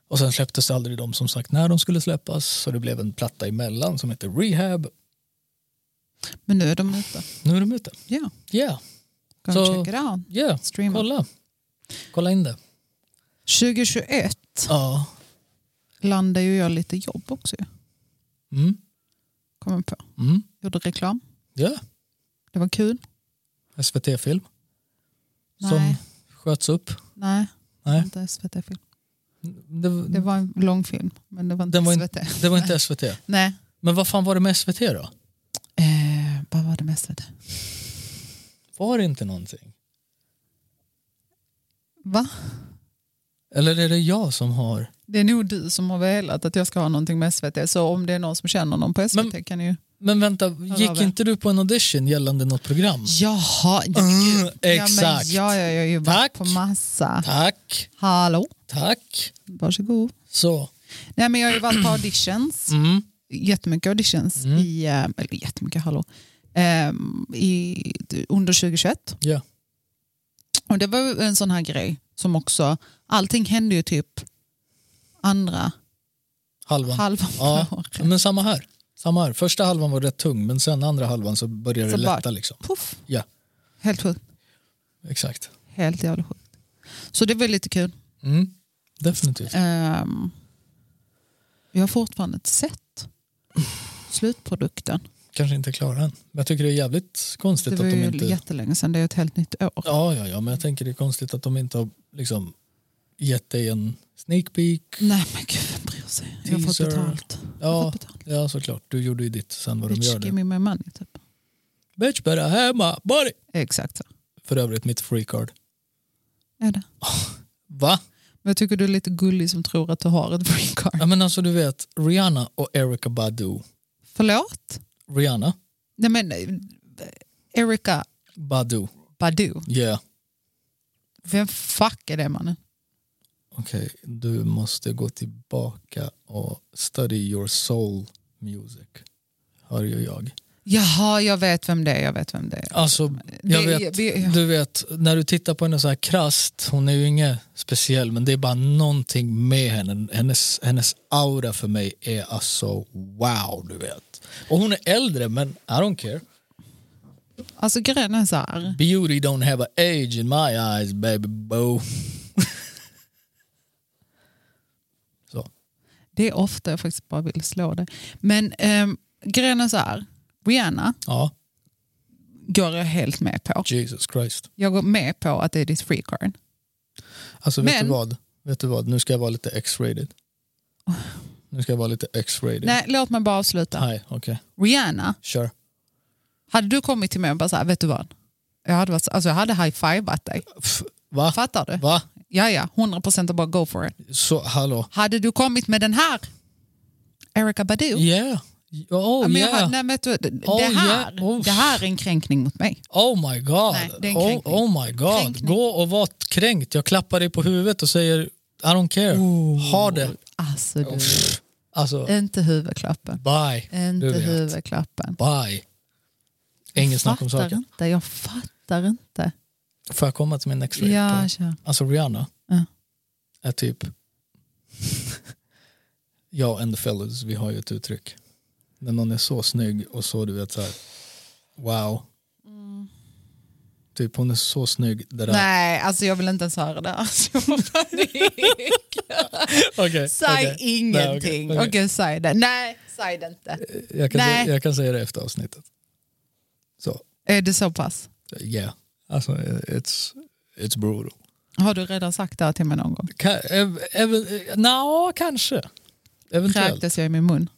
Speaker 1: Och sen släpptes aldrig de som sagt när de skulle släppas, så det blev en platta emellan som heter Rehab.
Speaker 2: Men nu är de ute.
Speaker 1: Nu är de ute.
Speaker 2: Ja,
Speaker 1: Ja,
Speaker 2: go
Speaker 1: Så-
Speaker 2: check it out.
Speaker 1: ja.
Speaker 2: Streama.
Speaker 1: kolla. Kolla in det.
Speaker 2: 2021
Speaker 1: Ja.
Speaker 2: landade ju jag lite jobb också. ju,
Speaker 1: Mm.
Speaker 2: Kom jag på.
Speaker 1: Mm.
Speaker 2: Gjorde reklam.
Speaker 1: Ja.
Speaker 2: Det var kul.
Speaker 1: SVT-film. Som
Speaker 2: Nej.
Speaker 1: sköts upp.
Speaker 2: Nej,
Speaker 1: Nej.
Speaker 2: inte SVT-film.
Speaker 1: Det,
Speaker 2: Det var en lång film, men det var inte
Speaker 1: Den var in-
Speaker 2: SVT.
Speaker 1: det var inte SVT.
Speaker 2: Nej.
Speaker 1: Men vad fan var det med SVT då?
Speaker 2: Eh, vad var det med SVT?
Speaker 1: Var det inte någonting?
Speaker 2: Va?
Speaker 1: Eller är det jag som har?
Speaker 2: Det är nog du som har velat att jag ska ha någonting med SVT. Så om det är någon som känner någon på SVT kan ni ju...
Speaker 1: Men vänta,
Speaker 2: av
Speaker 1: gick
Speaker 2: det.
Speaker 1: inte du på en audition gällande något program?
Speaker 2: Jaha, ja, men
Speaker 1: Mm,
Speaker 2: gud. Ja,
Speaker 1: exakt.
Speaker 2: men jag, jag, jag har ju
Speaker 1: Tack.
Speaker 2: varit på massa.
Speaker 1: Tack,
Speaker 2: Hallå,
Speaker 1: tack.
Speaker 2: varsågod.
Speaker 1: Så.
Speaker 2: Nej, men jag har ju varit på auditions.
Speaker 1: Mm.
Speaker 2: Jättemycket auditions.
Speaker 1: Mm.
Speaker 2: I, eh, eller jättemycket, hallå. Ehm, i, under 2021.
Speaker 1: Ja.
Speaker 2: Och det var ju en sån här grej som också, allting hände ju typ andra
Speaker 1: Halvan.
Speaker 2: halvan
Speaker 1: Ja.
Speaker 2: av året.
Speaker 1: Men samma här. samma här. Första halvan var rätt tung men sen andra halvan så började
Speaker 2: Så
Speaker 1: det
Speaker 2: bara-
Speaker 1: lätta. Liksom.
Speaker 2: Puff.
Speaker 1: Ja.
Speaker 2: Helt sjukt.
Speaker 1: Exakt.
Speaker 2: Helt jävla sjukt. Så det var lite kul.
Speaker 1: Mm. Definitivt.
Speaker 2: Ehm, jag har fortfarande inte sett slutprodukten.
Speaker 1: Kanske inte klara än. Men jag tycker det är jävligt
Speaker 2: Det
Speaker 1: konstigt
Speaker 2: var
Speaker 1: att de
Speaker 2: ju
Speaker 1: inte...
Speaker 2: jättelänge sedan, det är ju ett helt nytt år.
Speaker 1: Ja, ja, ja, men jag tänker det är konstigt att de inte har liksom, gett dig en sneak peek.
Speaker 2: Nej men gud, vem bryr sig? Jag har fått
Speaker 1: Teaser.
Speaker 2: betalt. Jag har
Speaker 1: Ja,
Speaker 2: fått betalt.
Speaker 1: ja, såklart. Du gjorde ju ditt sen vad de
Speaker 2: Bitch,
Speaker 1: gör
Speaker 2: give
Speaker 1: nu.
Speaker 2: me my money. Typ.
Speaker 1: Bitch better have my body.
Speaker 2: Exakt så.
Speaker 1: För övrigt mitt free card.
Speaker 2: Är det.
Speaker 1: Va?
Speaker 2: Men jag tycker du är lite gullig som tror att du har ett free card.
Speaker 1: Ja, men alltså du vet, Rihanna och Erika Badu.
Speaker 2: Förlåt?
Speaker 1: Rihanna,
Speaker 2: Nej men eh, Erika
Speaker 1: Badu.
Speaker 2: Badu.
Speaker 1: Yeah.
Speaker 2: Vem fuck är det mannen?
Speaker 1: Okej, du måste gå tillbaka och study your soul music. Hör ju jag.
Speaker 2: Jaha, jag vet vem det är. Jag vet vem det är.
Speaker 1: Alltså, jag
Speaker 2: Det-
Speaker 1: vet,
Speaker 2: vi-
Speaker 1: du vet, när du tittar på henne så här krasst, hon är ju inget speciell men det är bara någonting med henne. Hennes, hennes aura för mig är alltså wow, du vet. Och hon är äldre men I don't care.
Speaker 2: Alltså grejen är så här.
Speaker 1: Beauty don't have a age in my eyes baby boo. så.
Speaker 2: Det är ofta jag faktiskt bara vill slå det. Men ehm, grejen är så här. Rihanna
Speaker 1: Ja,
Speaker 2: går jag helt med på.
Speaker 1: Jesus Christ.
Speaker 2: Jag går med på att det är ditt free card.
Speaker 1: Alltså vet
Speaker 2: Men-
Speaker 1: du vad? Vet du vad? Nu ska jag vara lite X-rated. Nu ska jag vara lite X-rated.
Speaker 2: Nej, låt mig bara avsluta.
Speaker 1: Nej, okej.
Speaker 2: Rihanna,
Speaker 1: Kör.
Speaker 2: hade du kommit till mig och bara så här, vet du vad? Jag hade, varit, så- alltså jag hade high-fivat dig.
Speaker 1: F- Va?
Speaker 2: Fattar du?
Speaker 1: Va?
Speaker 2: Ja, ja. 100 procent och bara go for it.
Speaker 1: Så, hallå?
Speaker 2: Hade du kommit med den här, Erika Badu?
Speaker 1: Yeah.
Speaker 2: Ja,
Speaker 1: Oh,
Speaker 2: men jag
Speaker 1: yeah.
Speaker 2: hade- nej, vet du, det,
Speaker 1: Oh,
Speaker 2: det, här,
Speaker 1: yeah. Oh.
Speaker 2: det här är en kränkning mot mig.
Speaker 1: oh my god.
Speaker 2: Nej, det är en
Speaker 1: oh,
Speaker 2: kränkning.
Speaker 1: oh my god.
Speaker 2: Kränkning.
Speaker 1: Gå och var kränkt. Jag klappar dig på huvudet och säger I don't care. Ha det.
Speaker 2: Alltså du,
Speaker 1: Pff, Alltså,
Speaker 2: inte huvudklappen.
Speaker 1: bye.
Speaker 2: Inte
Speaker 1: Du vet.
Speaker 2: huvudklappen.
Speaker 1: Bye. Inget snack om
Speaker 2: fattar
Speaker 1: saken.
Speaker 2: inte, jag fattar inte.
Speaker 1: Får jag komma till min next rate?
Speaker 2: Ja, kör.
Speaker 1: Alltså Rihanna
Speaker 2: Ja.
Speaker 1: är typ... jag and the fellas, vi har ju ett uttryck. När någon är så snygg och så du vet så här, wow. Typ hon är så snygg. Det där.
Speaker 2: Nej, alltså jag vill inte ens höra det. Alltså, jag får panik.
Speaker 1: Okej,
Speaker 2: säg
Speaker 1: okej.
Speaker 2: ingenting.
Speaker 1: Nej,
Speaker 2: Okej,
Speaker 1: okej,
Speaker 2: säg det. Nej, säg det inte.
Speaker 1: Jag, kan
Speaker 2: Nej.
Speaker 1: säga, jag kan säga det efter avsnittet. Så,
Speaker 2: Är det så pass?
Speaker 1: yeah. Alltså, it's, it's brutal.
Speaker 2: Har du redan sagt det här till mig någon gång?
Speaker 1: Ka, ev, ev, Nja, kanske. Eventuellt.
Speaker 2: Kräktes jag i min mun?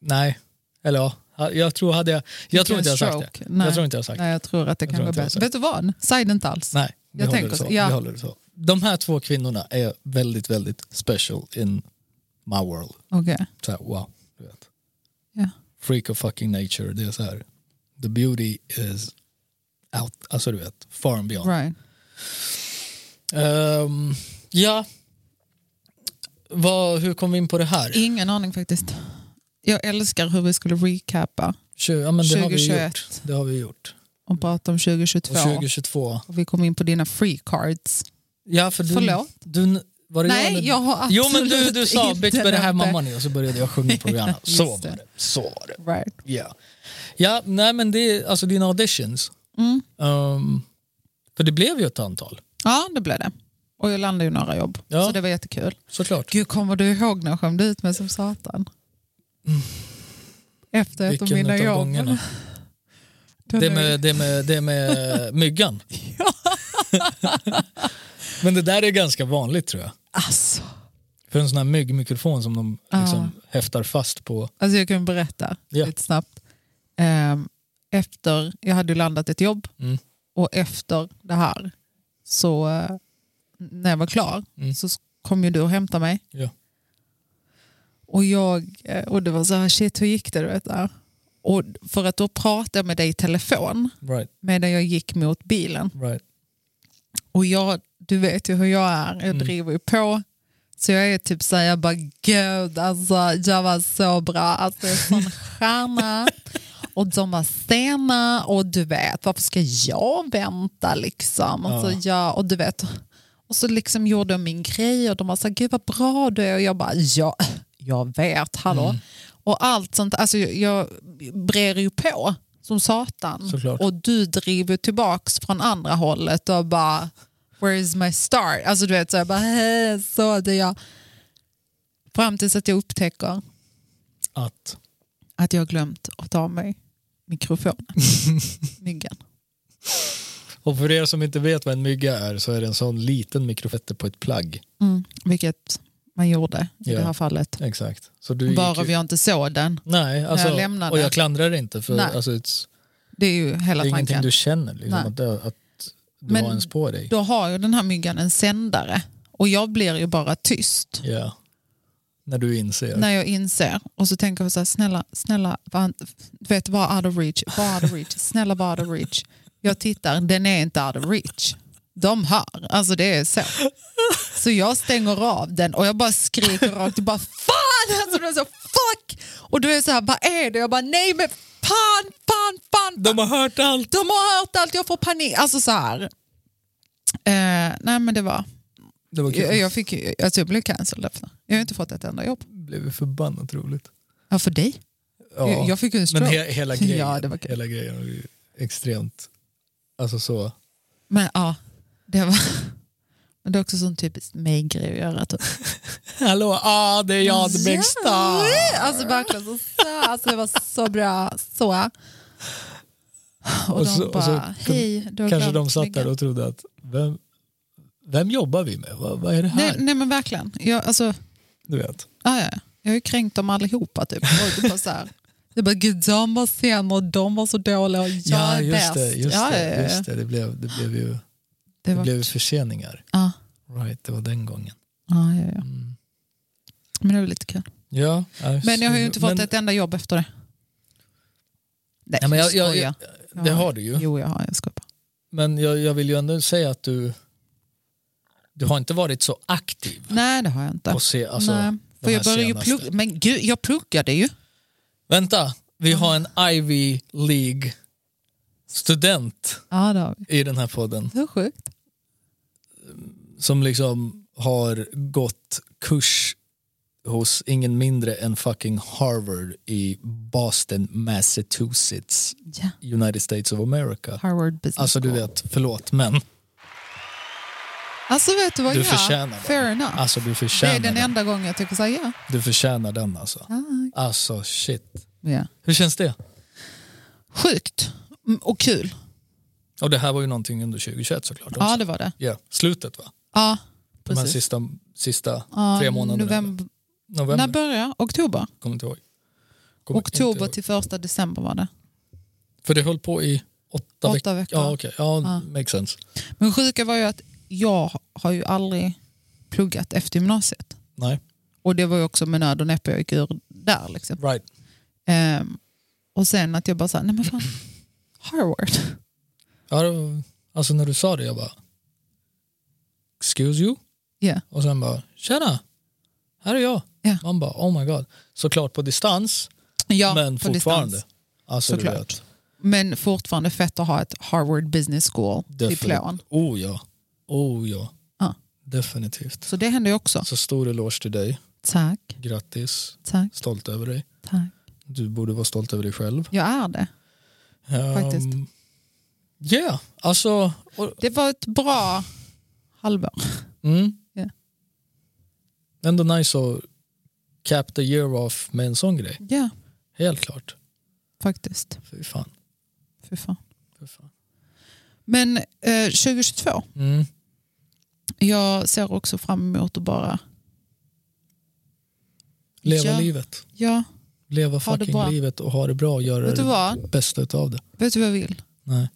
Speaker 1: Nej. Eller ja, jag tror, hade jag, jag tror inte jag har sagt
Speaker 2: stroke.
Speaker 1: det.
Speaker 2: Nej.
Speaker 1: Jag tror inte jag har sagt det.
Speaker 2: Nej, jag tror att det
Speaker 1: Jag
Speaker 2: kan
Speaker 1: tror
Speaker 2: gå
Speaker 1: inte jag
Speaker 2: bättre.
Speaker 1: säger.
Speaker 2: Vet du vad? Säg det inte alls.
Speaker 1: Nej, vi,
Speaker 2: Jag
Speaker 1: håller
Speaker 2: tänker
Speaker 1: det så.
Speaker 2: så, ja.
Speaker 1: vi håller det så. De här två kvinnorna är väldigt, väldigt special in my world.
Speaker 2: Okej.
Speaker 1: Så här, wow. Du vet.
Speaker 2: Ja.
Speaker 1: Freak of fucking nature. Det är så här, the beauty is out. Alltså du vet, far and beyond.
Speaker 2: Right.
Speaker 1: Ehm, ja. Vad, hur kom vi in på det här?
Speaker 2: Ingen aning faktiskt. Jag älskar hur vi skulle recappa
Speaker 1: Tju- ja, men det, har vi
Speaker 2: 2021.
Speaker 1: gjort. det har vi gjort.
Speaker 2: och prata om 2022.
Speaker 1: Och 2022.
Speaker 2: Och vi kom in på dina free cards.
Speaker 1: Ja, för du,
Speaker 2: Förlåt?
Speaker 1: Du, Var det
Speaker 2: Nej,
Speaker 1: eller-
Speaker 2: jag har absolut
Speaker 1: Jo men du, du sa
Speaker 2: inte
Speaker 1: bitch med det här
Speaker 2: något-
Speaker 1: mamma nu och så började jag sjunga på Rihanna.
Speaker 2: Just
Speaker 1: Så var
Speaker 2: det.
Speaker 1: det. Så var det.
Speaker 2: Right.
Speaker 1: Ja, ja nej men det är alltså dina auditions.
Speaker 2: Mm.
Speaker 1: Ehm, för det blev ju ett antal,
Speaker 2: Ja, det blev det. Och jag landade ju några jobb,
Speaker 1: Ja.
Speaker 2: så det var jättekul.
Speaker 1: såklart.
Speaker 2: Gud, kommer du ihåg när jag skämde ut mig som satan? Efter ett av mina
Speaker 1: utav
Speaker 2: jobb.
Speaker 1: Mm. gångerna?
Speaker 2: Den
Speaker 1: Det
Speaker 2: är-
Speaker 1: med, det med, det med myggan?
Speaker 2: Ja.
Speaker 1: men det där är ganska vanligt tror jag.
Speaker 2: Alltså,
Speaker 1: För en sån här myggmikrofon som de
Speaker 2: Ja.
Speaker 1: liksom häftar fast på.
Speaker 2: alltså jag kan berätta
Speaker 1: Ja.
Speaker 2: lite snabbt. Ehm, efter, jag hade ju landat ett jobb
Speaker 1: Mm.
Speaker 2: och efter det här så eh, när jag var klar
Speaker 1: Mm.
Speaker 2: så s- kom ju du och hämtade mig.
Speaker 1: Ja.
Speaker 2: Och, jag, eh, och det var så här, shit hur gick det? Du vet, där. Och för att då pratade jag med dig i telefon
Speaker 1: Right,
Speaker 2: medan jag gick mot bilen.
Speaker 1: right.
Speaker 2: Och jag, du vet ju hur jag är, jag
Speaker 1: Mm.
Speaker 2: driver ju på. Så jag är typ såhär, jag bara gud alltså jag var så bra, alltså jag är sån stjärna. Och de var sena och du vet, varför ska jag vänta liksom? Alltså,
Speaker 1: Ja.
Speaker 2: jag, och du vet, och så liksom gjorde jag min grej och de var såhär, gud vad bra du är. Och jag bara, ja, jag vet, hallå.
Speaker 1: Mm.
Speaker 2: Och allt sånt, alltså jag, jag brer ju på som satan.
Speaker 1: Såklart.
Speaker 2: Och du driver tillbaks från andra hållet och bara, where is my start? Alltså du vet, så jag bara, hej, så det är jag. Fram tills att jag upptäcker
Speaker 1: Att.
Speaker 2: att jag har glömt att ta av mig mikrofonen. Myggan.
Speaker 1: Och för er som inte vet vad en mygga är så är det en sån liten mikrofette på ett plagg.
Speaker 2: Mm. Vilket man gjorde i
Speaker 1: Ja.
Speaker 2: det här fallet.
Speaker 1: Exakt. Så du gick ju-
Speaker 2: Varav jag inte såg den.
Speaker 1: Nej, alltså,
Speaker 2: jag lämnade.
Speaker 1: och jag klandrar dig inte för
Speaker 2: Nej.
Speaker 1: alltså, it's,
Speaker 2: Det är ju
Speaker 1: det
Speaker 2: hela
Speaker 1: är ingenting
Speaker 2: tanken.
Speaker 1: du känner liksom,
Speaker 2: Nej.
Speaker 1: att, det, att du
Speaker 2: Men
Speaker 1: har ens på dig.
Speaker 2: Då har ju den här myggan en sändare och jag blir ju bara tyst
Speaker 1: Ja. När du inser.
Speaker 2: när jag inser och så tänker jag så här, snälla, snälla, var, du vet, var out of reach, var out of reach, snälla var out of reach. Jag tittar, den är inte out of reach. De hör, alltså det är så. Så jag stänger av den och jag bara skriker rakt, bara fan, alltså, det är så fuck! Och du är så här, vad är det? Jag bara nej men fan, fan, fan,
Speaker 1: De har hört allt.
Speaker 2: de har hört allt, jag får panik. Alltså så här. Eh, nej men det var,
Speaker 1: Det var kul.
Speaker 2: jag, jag, fick, ju- alltså, jag blev cancelled efter. Jag har inte fått ett enda jobb.
Speaker 1: Det blev förbannat roligt.
Speaker 2: Ja, för dig?
Speaker 1: Ja.
Speaker 2: Jag, jag fick ju en
Speaker 1: Men
Speaker 2: stroke.
Speaker 1: he, hela grejen,
Speaker 2: Ja, det var kul.
Speaker 1: hela grejen var ju extremt, alltså så.
Speaker 2: Men ja, det var... Men det är också sån typiskt mig-grej att göra. Typ.
Speaker 1: Hallå, ah, det är jag, the big star.
Speaker 2: Ja, Alltså verkligen så, så alltså, det var så bra. Så. Och,
Speaker 1: Och
Speaker 2: de
Speaker 1: så- och
Speaker 2: bara,
Speaker 1: så kun-
Speaker 2: hej, du har
Speaker 1: Kanske
Speaker 2: glömt
Speaker 1: de satt
Speaker 2: myggan."
Speaker 1: där och trodde att, vem, vem jobbar vi med? Vad, vad är det här?
Speaker 2: Nej, nej men verkligen. Jag, alltså,
Speaker 1: Du vet.
Speaker 2: Ja, ja. Jag har ju kränkt dem allihopa. Typ. Och det bara så här. Det bara, gud de var sena och de var så dåliga och jag är
Speaker 1: just
Speaker 2: bäst.
Speaker 1: det, just
Speaker 2: ja, ja,
Speaker 1: det,
Speaker 2: ja.
Speaker 1: just det. Det blev, det blev ju
Speaker 2: Det
Speaker 1: det
Speaker 2: var,
Speaker 1: blev ju förseningar.
Speaker 2: ja.
Speaker 1: Right, det var den gången.
Speaker 2: Ja, ja, ja.
Speaker 1: Mm.
Speaker 2: Men det var lite kul.
Speaker 1: Ja,
Speaker 2: Men jag har ju inte fått
Speaker 1: men-
Speaker 2: ett enda jobb efter det. Nej,
Speaker 1: Nej, men jag, jag,
Speaker 2: skojar.
Speaker 1: jag, det har du ju.
Speaker 2: Jo, jag har. Jag skojar bara.
Speaker 1: Men jag, jag vill ju ändå säga att du, du har inte varit så aktiv.
Speaker 2: Nej, det har jag inte.
Speaker 1: Och se, alltså,
Speaker 2: Nej. För
Speaker 1: här
Speaker 2: jag började ju
Speaker 1: senaste.
Speaker 2: plugga. Men gud, jag pluggade ju.
Speaker 1: Vänta, vi har en Ivy League-student
Speaker 2: Ja, det har vi.
Speaker 1: i den här podden
Speaker 2: Hur sjukt?
Speaker 1: som liksom har gått kurs hos ingen mindre än fucking Harvard i Boston, Massachusetts,
Speaker 2: Ja.
Speaker 1: United States of America.
Speaker 2: Harvard Business
Speaker 1: Alltså du
Speaker 2: School.
Speaker 1: vet, förlåt men
Speaker 2: Alltså vet du vad?
Speaker 1: du
Speaker 2: ja,
Speaker 1: förtjänar den.
Speaker 2: Fair enough.
Speaker 1: Alltså du
Speaker 2: det
Speaker 1: förtjänar
Speaker 2: är den enda gången jag tycker så här, ja.
Speaker 1: Du förtjänar den alltså.
Speaker 2: Ah,
Speaker 1: Alltså shit.
Speaker 2: ja.
Speaker 1: Hur känns det?
Speaker 2: Sjukt Mm, och kul.
Speaker 1: Och det här var ju någonting under 2021 såklart. Också.
Speaker 2: Ja,
Speaker 1: Ja.
Speaker 2: det var det.
Speaker 1: Slutet va?
Speaker 2: Ja,
Speaker 1: De här
Speaker 2: precis.
Speaker 1: sista, sista
Speaker 2: Ja,
Speaker 1: tre månaderna.
Speaker 2: November.
Speaker 1: November.
Speaker 2: När började jag? Oktober.
Speaker 1: Kommer inte ihåg. Kommer inte
Speaker 2: Oktober
Speaker 1: ihåg.
Speaker 2: till första december var det.
Speaker 1: För det höll på i åtta,
Speaker 2: Åtta veckor.
Speaker 1: Ja, okej. Ja,
Speaker 2: Ja.
Speaker 1: makes sense.
Speaker 2: Men sjuka var ju att jag har ju aldrig pluggat efter gymnasiet.
Speaker 1: Nej,
Speaker 2: Och det var ju också med nöd och näppe jag gick ur där. Liksom.
Speaker 1: right.
Speaker 2: Ehm, och sen att jag bara sa, nej men fan, Harvard.
Speaker 1: Ja, det var- alltså när du sa det, jag bara... Excuse you?
Speaker 2: Ja.
Speaker 1: Och sen bara, tjena! Här är jag.
Speaker 2: Ja.
Speaker 1: Man bara, oh my god. Såklart på distans,
Speaker 2: Ja,
Speaker 1: men
Speaker 2: på
Speaker 1: fortfarande.
Speaker 2: distans.
Speaker 1: Alltså, du
Speaker 2: Såklart.
Speaker 1: vet.
Speaker 2: Men fortfarande fett att ha ett Harvard Business
Speaker 1: Definitivt.
Speaker 2: School-diplom.
Speaker 1: Oh ja. Oh ja.
Speaker 2: Ja.
Speaker 1: Definitivt.
Speaker 2: Så det händer ju också.
Speaker 1: Så stor eloge till dig.
Speaker 2: Tack,
Speaker 1: Grattis.
Speaker 2: tack,
Speaker 1: Stolt över dig.
Speaker 2: tack.
Speaker 1: Du borde vara stolt över dig själv.
Speaker 2: Jag är det. Faktiskt.
Speaker 1: Ehm, Ja, alltså... Och,
Speaker 2: Det var ett bra halvår.
Speaker 1: mm.
Speaker 2: Ja.
Speaker 1: Ändå nice att cap the year off med en sån grej.
Speaker 2: Ja,
Speaker 1: Helt klart.
Speaker 2: faktiskt.
Speaker 1: Fy fan.
Speaker 2: Fy fan.
Speaker 1: Fy fan.
Speaker 2: Men eh, 2022,
Speaker 1: Mm.
Speaker 2: jag ser också fram emot att bara...
Speaker 1: Leva
Speaker 2: Ja.
Speaker 1: livet.
Speaker 2: Ja,
Speaker 1: Leva
Speaker 2: Ha det
Speaker 1: fucking
Speaker 2: bra.
Speaker 1: livet och ha det bra och göra
Speaker 2: vet du
Speaker 1: det
Speaker 2: vad?
Speaker 1: bästa av det.
Speaker 2: Vet du vad jag vill?
Speaker 1: Nej.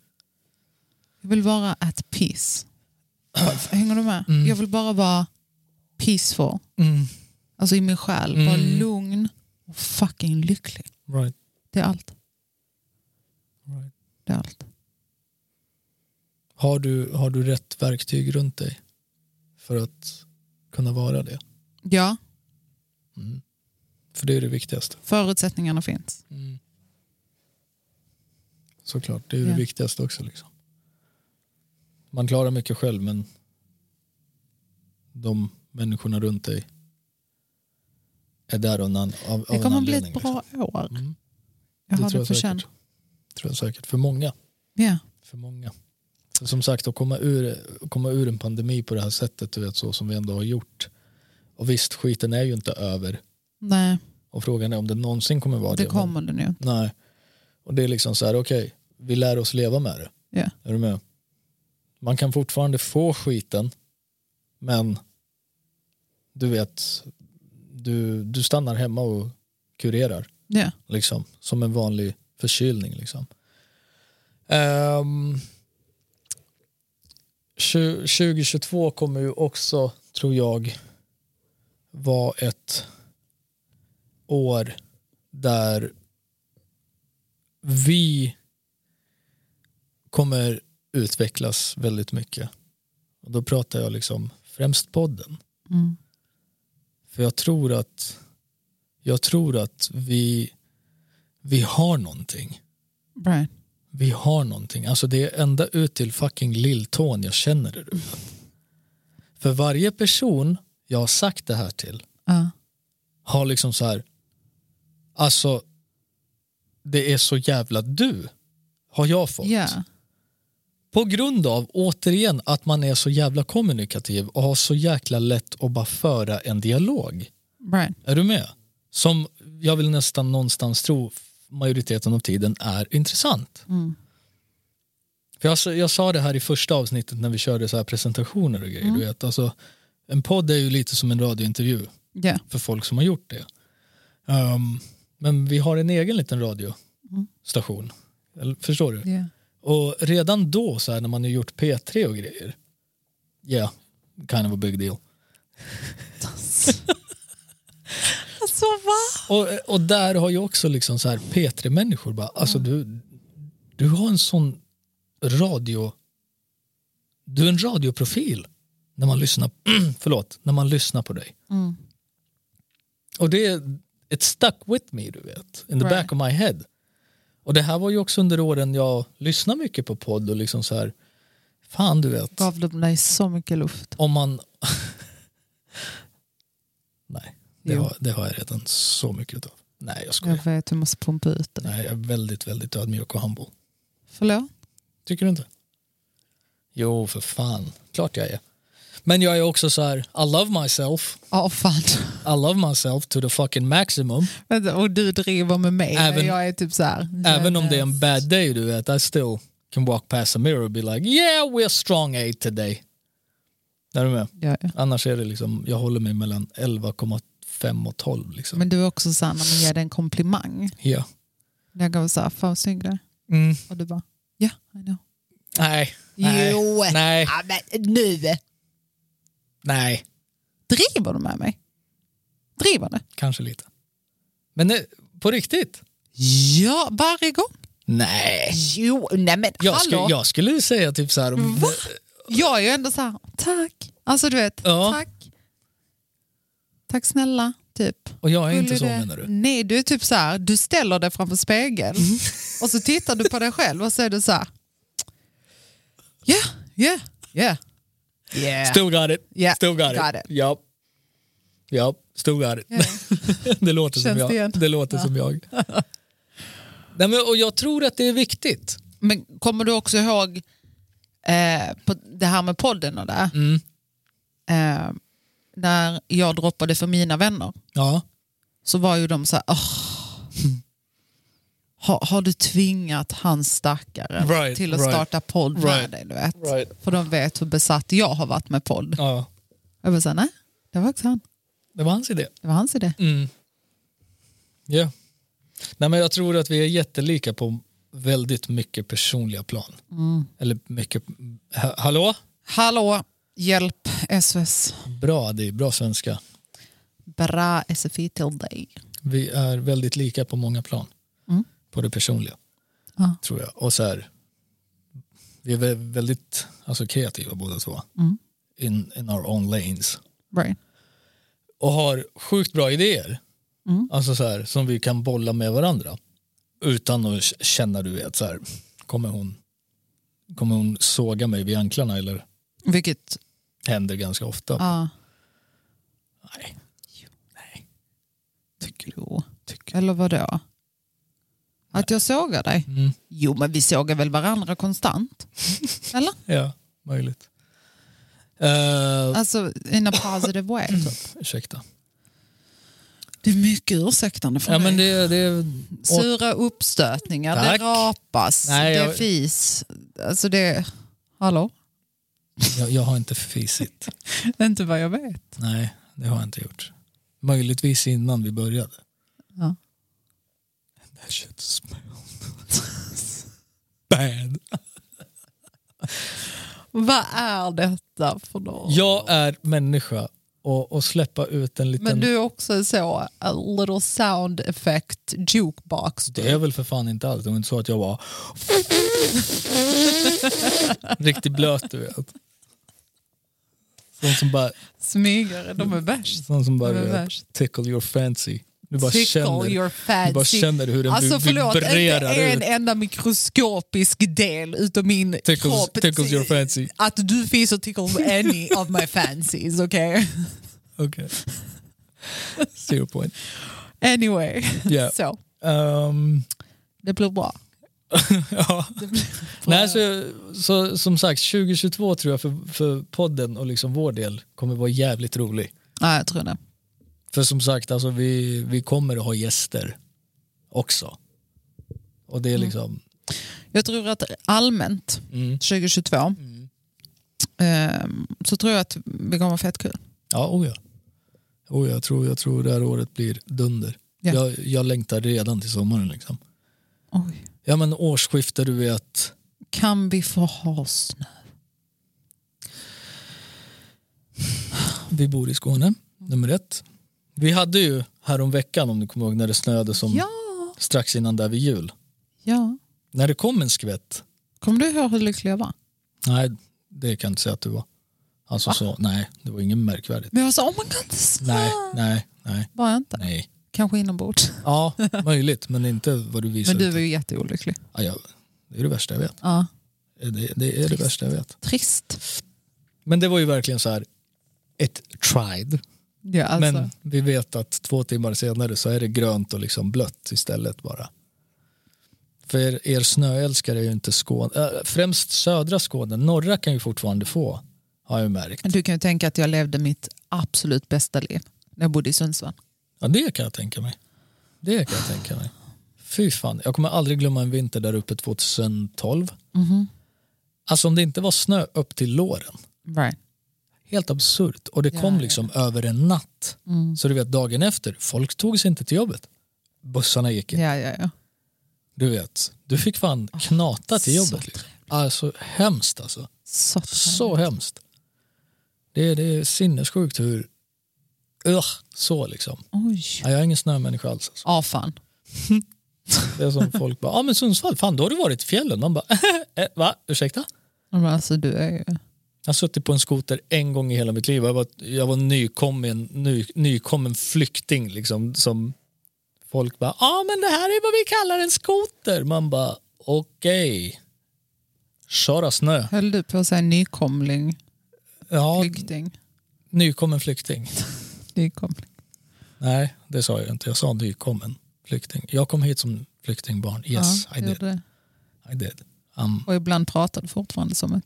Speaker 2: Jag vill vara at peace. Hänger du med?
Speaker 1: Mm.
Speaker 2: Jag vill bara vara peaceful.
Speaker 1: Mm.
Speaker 2: Alltså i min själ. Vara
Speaker 1: Mm.
Speaker 2: lugn och fucking lycklig.
Speaker 1: Right.
Speaker 2: Det är allt.
Speaker 1: right.
Speaker 2: Det är allt.
Speaker 1: Har, du, har du rätt verktyg runt dig för att kunna vara det?
Speaker 2: Ja,
Speaker 1: Mm. För det är det viktigaste.
Speaker 2: förutsättningarna finns.
Speaker 1: Mm. Såklart, det är
Speaker 2: Ja.
Speaker 1: det viktigaste också. Liksom. Man klarar mycket själv men de människorna runt dig är där av, en an- av, av
Speaker 2: Det
Speaker 1: en
Speaker 2: kommer bli
Speaker 1: anledning.
Speaker 2: ett bra år.
Speaker 1: liksom. Mm.
Speaker 2: Jag har
Speaker 1: tror
Speaker 2: det på känn.
Speaker 1: säkert. tror jag säkert. För många.
Speaker 2: Ja.
Speaker 1: För många. Så som sagt, att komma ur, komma ur en pandemi på det här sättet, du vet, så som vi ändå har gjort. Och visst, skiten är ju inte över.
Speaker 2: Nej,
Speaker 1: Och frågan är om det någonsin kommer vara det.
Speaker 2: det kommer det nu.
Speaker 1: Men, nej. Och det är liksom så här, okej, vi lär oss leva med det.
Speaker 2: Ja.
Speaker 1: Är du med? Man kan fortfarande få skiten, men du vet, du, du stannar hemma och kurerar
Speaker 2: Ja.
Speaker 1: liksom, som en vanlig förkylning. Liksom. Ehm, tju- 2022 kommer ju också, tror jag, vara ett år där vi kommer utvecklas väldigt mycket. Och då pratar jag liksom främst podden.
Speaker 2: Mm.
Speaker 1: För jag tror att jag tror att vi, vi har någonting.
Speaker 2: Right.
Speaker 1: Vi har någonting. Alltså det är ända ut till fucking lilltån jag känner det. du vet. För varje person jag har sagt det här till
Speaker 2: Ja.
Speaker 1: har liksom så här, alltså det är så jävla du, har jag fått.
Speaker 2: Ja.
Speaker 1: På grund av, återigen, att man är så jävla kommunikativ och har så jäkla lätt att bara föra en dialog.
Speaker 2: Right.
Speaker 1: Är du med? Som jag vill nästan någonstans tro majoriteten av tiden är intressant.
Speaker 2: Mm.
Speaker 1: För jag, sa- jag sa det här i första avsnittet när vi körde så här presentationer och
Speaker 2: Mm.
Speaker 1: grejer. Du vet, alltså, en podd är ju lite som en radiointervju
Speaker 2: Ja.
Speaker 1: för folk som har gjort det. Ehm, men vi har en egen liten radiostation. Eller, förstår du?
Speaker 2: Ja.
Speaker 1: Och redan då, så här, när man har gjort P3 och grejer, yeah, kind of a big deal.
Speaker 2: Alltså va?
Speaker 1: Och, och där har ju också liksom så här P3-människor bara, alltså
Speaker 2: Mm.
Speaker 1: du, du har en sån radio, du är en radioprofil när man lyssnar, förlåt, när man lyssnar på dig.
Speaker 2: Mm.
Speaker 1: Och det, är- it stuck with me du vet, in the
Speaker 2: Right.
Speaker 1: back of my head. Och det här var ju också under åren jag lyssnade mycket på podd och liksom så här, fan du vet,
Speaker 2: Gav de dig så mycket luft?
Speaker 1: om man, nej, det
Speaker 2: Jo.
Speaker 1: har, det har jag redan så mycket utav. Nej jag skojar.
Speaker 2: Jag vet, du måste pumpa ut det.
Speaker 1: Nej, jag är väldigt, väldigt ödmjuk och humble.
Speaker 2: Förlåt?
Speaker 1: Tycker du inte? Jo, för fan. Klart jag är. Men jag är också så här, I love myself.
Speaker 2: Ja, fan.
Speaker 1: I love myself to the fucking maximum.
Speaker 2: Vänta, och du driver med mig när
Speaker 1: Även-
Speaker 2: jag är typ så här.
Speaker 1: Även om det är en bad day, du vet. I still can walk past a mirror and be like, yeah, we're strong eight today. Är du med?
Speaker 2: Ja, ja.
Speaker 1: Annars är det liksom, jag håller mig mellan 11,5 och 12 liksom.
Speaker 2: Men du är också såhär när man ger dig en komplimang.
Speaker 1: Ja.
Speaker 2: När jag gav såhär, fan vad snygg du är.
Speaker 1: Mm.
Speaker 2: Och du bara, ja, I know.
Speaker 1: Nej, Nej.
Speaker 2: Jo,
Speaker 1: nej,
Speaker 2: Ja, men nu
Speaker 1: nej.
Speaker 2: driver du med mig. Driver du?
Speaker 1: Kanske lite. Men nej, på riktigt?
Speaker 2: Ja, varje gång.
Speaker 1: Nej.
Speaker 2: Jo, nej men
Speaker 1: Jag, skulle- jag skulle säga typ så här. om-
Speaker 2: Va? Jag är ju ändå så här, tack. Alltså du vet,
Speaker 1: Ja.
Speaker 2: tack. Tack snälla, typ.
Speaker 1: Och jag är inte
Speaker 2: Skulle
Speaker 1: så
Speaker 2: det-
Speaker 1: menar du? Mm.
Speaker 2: Nej, du är typ så här, du ställer dig framför spegeln och så tittar du på dig själv och så är du så här. Ja, ja, ja. Yeah.
Speaker 1: Still got it.
Speaker 2: Yeah,
Speaker 1: Still got,
Speaker 2: got
Speaker 1: it.
Speaker 2: it.
Speaker 1: Ja. Ja, still got it.
Speaker 2: Yeah.
Speaker 1: det låter, som
Speaker 2: Känns det
Speaker 1: jag.
Speaker 2: igen?
Speaker 1: Det låter som jag. Nej, men, och jag tror att det är viktigt.
Speaker 2: Men kommer du också ihåg eh, på det här med podden och det?
Speaker 1: Mm.
Speaker 2: Eh, när jag droppade för mina vänner
Speaker 1: Ja.
Speaker 2: så var ju de så här, "Åh, har, har du tvingat hans stackare
Speaker 1: Right,
Speaker 2: till att
Speaker 1: right,
Speaker 2: starta podd
Speaker 1: right,
Speaker 2: med dig? Du vet?
Speaker 1: right.
Speaker 2: För de vet hur besatt jag har varit med podd.
Speaker 1: ja.
Speaker 2: Jag var så här, nej, det var också han.
Speaker 1: Det var hans idé.
Speaker 2: Det var hans idé.
Speaker 1: Mm. Ja. Nej, men jag tror att vi är jättelika på väldigt mycket personliga plan.
Speaker 2: Mm.
Speaker 1: Eller mycket... Ha- Hallå?
Speaker 2: Hallå, hjälp, SOS.
Speaker 1: Bra, det är bra svenska.
Speaker 2: Bra SFI till dig.
Speaker 1: Vi är väldigt lika på många plan.
Speaker 2: Mm.
Speaker 1: På det personliga,
Speaker 2: Ja.
Speaker 1: tror jag. Och så här, vi är vä- väldigt alltså, kreativa båda två.
Speaker 2: Mm.
Speaker 1: In, in our own lanes.
Speaker 2: Right.
Speaker 1: Och har sjukt bra idéer.
Speaker 2: Mm.
Speaker 1: Alltså så här, som vi kan bolla med varandra. Utan att k- känna, du vet, så här, kommer hon, kommer hon såga mig vid anklarna eller
Speaker 2: Vilket,
Speaker 1: händer ganska ofta.
Speaker 2: ja.
Speaker 1: Nej. Nej.
Speaker 2: Jo.
Speaker 1: Tycker.
Speaker 2: Eller vad då? Att jag sågar dig?
Speaker 1: Mm.
Speaker 2: Jo, men vi sågar väl varandra konstant? Eller?
Speaker 1: Ja, möjligt. Uh,
Speaker 2: Alltså in a positive way.
Speaker 1: Mm.
Speaker 2: Typ.
Speaker 1: ursäkta.
Speaker 2: Det är mycket ursäktande från
Speaker 1: Ja,
Speaker 2: dig.
Speaker 1: men det, det,
Speaker 2: Sura uppstötningar,
Speaker 1: Tack.
Speaker 2: det rapas,
Speaker 1: Nej,
Speaker 2: det
Speaker 1: jag-
Speaker 2: fis. Alltså det... Hallå?
Speaker 1: jag, jag har inte fisit.
Speaker 2: Inte vad jag vet.
Speaker 1: Nej, det har jag inte gjort. Möjligtvis innan vi började.
Speaker 2: Ja.
Speaker 1: That shit smells bad.
Speaker 2: Vad är detta för något?
Speaker 1: Jag är människa och, och släppa ut en liten...
Speaker 2: Men du är också så, a little sound effect jukebox.
Speaker 1: Det är väl för fan inte alls. Det var inte så att jag var... Riktigt blöt du vet. Sån som bara...
Speaker 2: Smygare, de är värst.
Speaker 1: Sån som bara
Speaker 2: Det är
Speaker 1: du vet,
Speaker 2: värst.
Speaker 1: tickle your fancy. Du bara
Speaker 2: Tickle
Speaker 1: känner...
Speaker 2: your
Speaker 1: Du bara
Speaker 2: fancy.
Speaker 1: känner hur den
Speaker 2: Alltså förlåt, inte
Speaker 1: vibrerar ut.
Speaker 2: en enda mikroskopisk del utav min
Speaker 1: Tickles,
Speaker 2: kropp.
Speaker 1: tickles your fancy.
Speaker 2: Att du finns och tickles any of my fancies, okay?
Speaker 1: Okej. Zero point.
Speaker 2: Anyway,
Speaker 1: Yeah.
Speaker 2: så
Speaker 1: Ehm,
Speaker 2: det blir bra.
Speaker 1: ja. Nej, så, så, som sagt, 2022 tror jag för, för podden och liksom vår del kommer vara jävligt rolig.
Speaker 2: Ja, jag tror det.
Speaker 1: För som sagt, alltså, vi, vi kommer att ha gäster också. Och det är
Speaker 2: Mm.
Speaker 1: liksom...
Speaker 2: Jag tror att allmänt
Speaker 1: Mm.
Speaker 2: 2022 ehm, så tror jag att vi kommer ha fett kul.
Speaker 1: Ja, oh ja. Oh ja, jag, tror, jag tror det här året blir dunder.
Speaker 2: Ja.
Speaker 1: Jag, jag längtar redan till sommaren. Liksom.
Speaker 2: Oj.
Speaker 1: Ja, men årsskifte, du vet.
Speaker 2: Kan vi få ha snö?
Speaker 1: Vi bor i Skåne, nummer ett. Vi hade ju häromveckan, om du kommer ihåg, när det snöade som
Speaker 2: Ja.
Speaker 1: strax innan där vid jul.
Speaker 2: ja.
Speaker 1: När det kom en skvätt,
Speaker 2: Kommer du ihåg hur lycklig jag var?
Speaker 1: nej det kan jag inte säga att du var. Alltså så, nej det var inget märkvärdigt.
Speaker 2: Men jag var så, oh my god, det snö.
Speaker 1: Nej, nej, nej,
Speaker 2: Var jag inte?
Speaker 1: nej.
Speaker 2: Kanske inombords.
Speaker 1: Ja, möjligt men inte vad du visar.
Speaker 2: Men du
Speaker 1: ut.
Speaker 2: var ju jätteolycklig.
Speaker 1: ja, jag, det är det värsta jag vet.
Speaker 2: Ja.
Speaker 1: Det, det är det
Speaker 2: Trist.
Speaker 1: värsta jag vet.
Speaker 2: Trist.
Speaker 1: Men det var ju verkligen så här, ett tried.
Speaker 2: Ja, alltså.
Speaker 1: Men vi vet att två timmar senare så är det grönt och liksom blött istället bara. För er, er snöälskare är ju inte Skåne, äh, främst södra Skåne, norra kan ju fortfarande få har jag ju märkt.
Speaker 2: Du kan ju tänka att jag levde mitt absolut bästa liv när jag bodde i Sundsvall.
Speaker 1: Ja det kan jag tänka mig. Det kan jag tänka mig. Fy fan, jag kommer aldrig glömma en vinter där uppe 2012.
Speaker 2: Mm-hmm.
Speaker 1: Alltså om det inte var snö upp till låren.
Speaker 2: Right.
Speaker 1: Helt absurt. Och det
Speaker 2: Ja,
Speaker 1: kom
Speaker 2: ja. Mm.
Speaker 1: liksom över en natt. Så du vet dagen efter, folk tog sig inte till jobbet. Bussarna gick inte.
Speaker 2: Ja, ja, ja.
Speaker 1: Du vet, du fick fan knata till
Speaker 2: så
Speaker 1: jobbet. Liksom. Alltså hemskt alltså.
Speaker 2: Så,
Speaker 1: Så hemskt. Det är, det är sinnessjukt hur... Ugh, så liksom.
Speaker 2: Oj.
Speaker 1: Ja, jag är ingen snömänniska alls. Alltså.
Speaker 2: Ja, fan.
Speaker 1: Det är som folk bara, ja ah, men Sundsvall, fan då har du varit i fjällen. Man bara, eh, va? Ursäkta?
Speaker 2: Men Alltså, du är ju...
Speaker 1: Jag har suttit på en skoter en gång i hela mitt liv. Jag var, jag var nykommen, ny, nykommen flykting liksom. Som folk bara, ja ah, men det här är vad vi kallar en skoter. Man bara, okej. Köra snö.
Speaker 2: Höll du på att säga nykomling?
Speaker 1: Ja,
Speaker 2: Flykting.
Speaker 1: nykommen flykting.
Speaker 2: Nykomling.
Speaker 1: Nej, det sa jag inte. Jag sa nykommen flykting. Jag kom hit som flyktingbarn. Yes,
Speaker 2: Ja,
Speaker 1: I, did.
Speaker 2: gjorde det.
Speaker 1: I did. Um,
Speaker 2: Och ibland pratade fortfarande som en...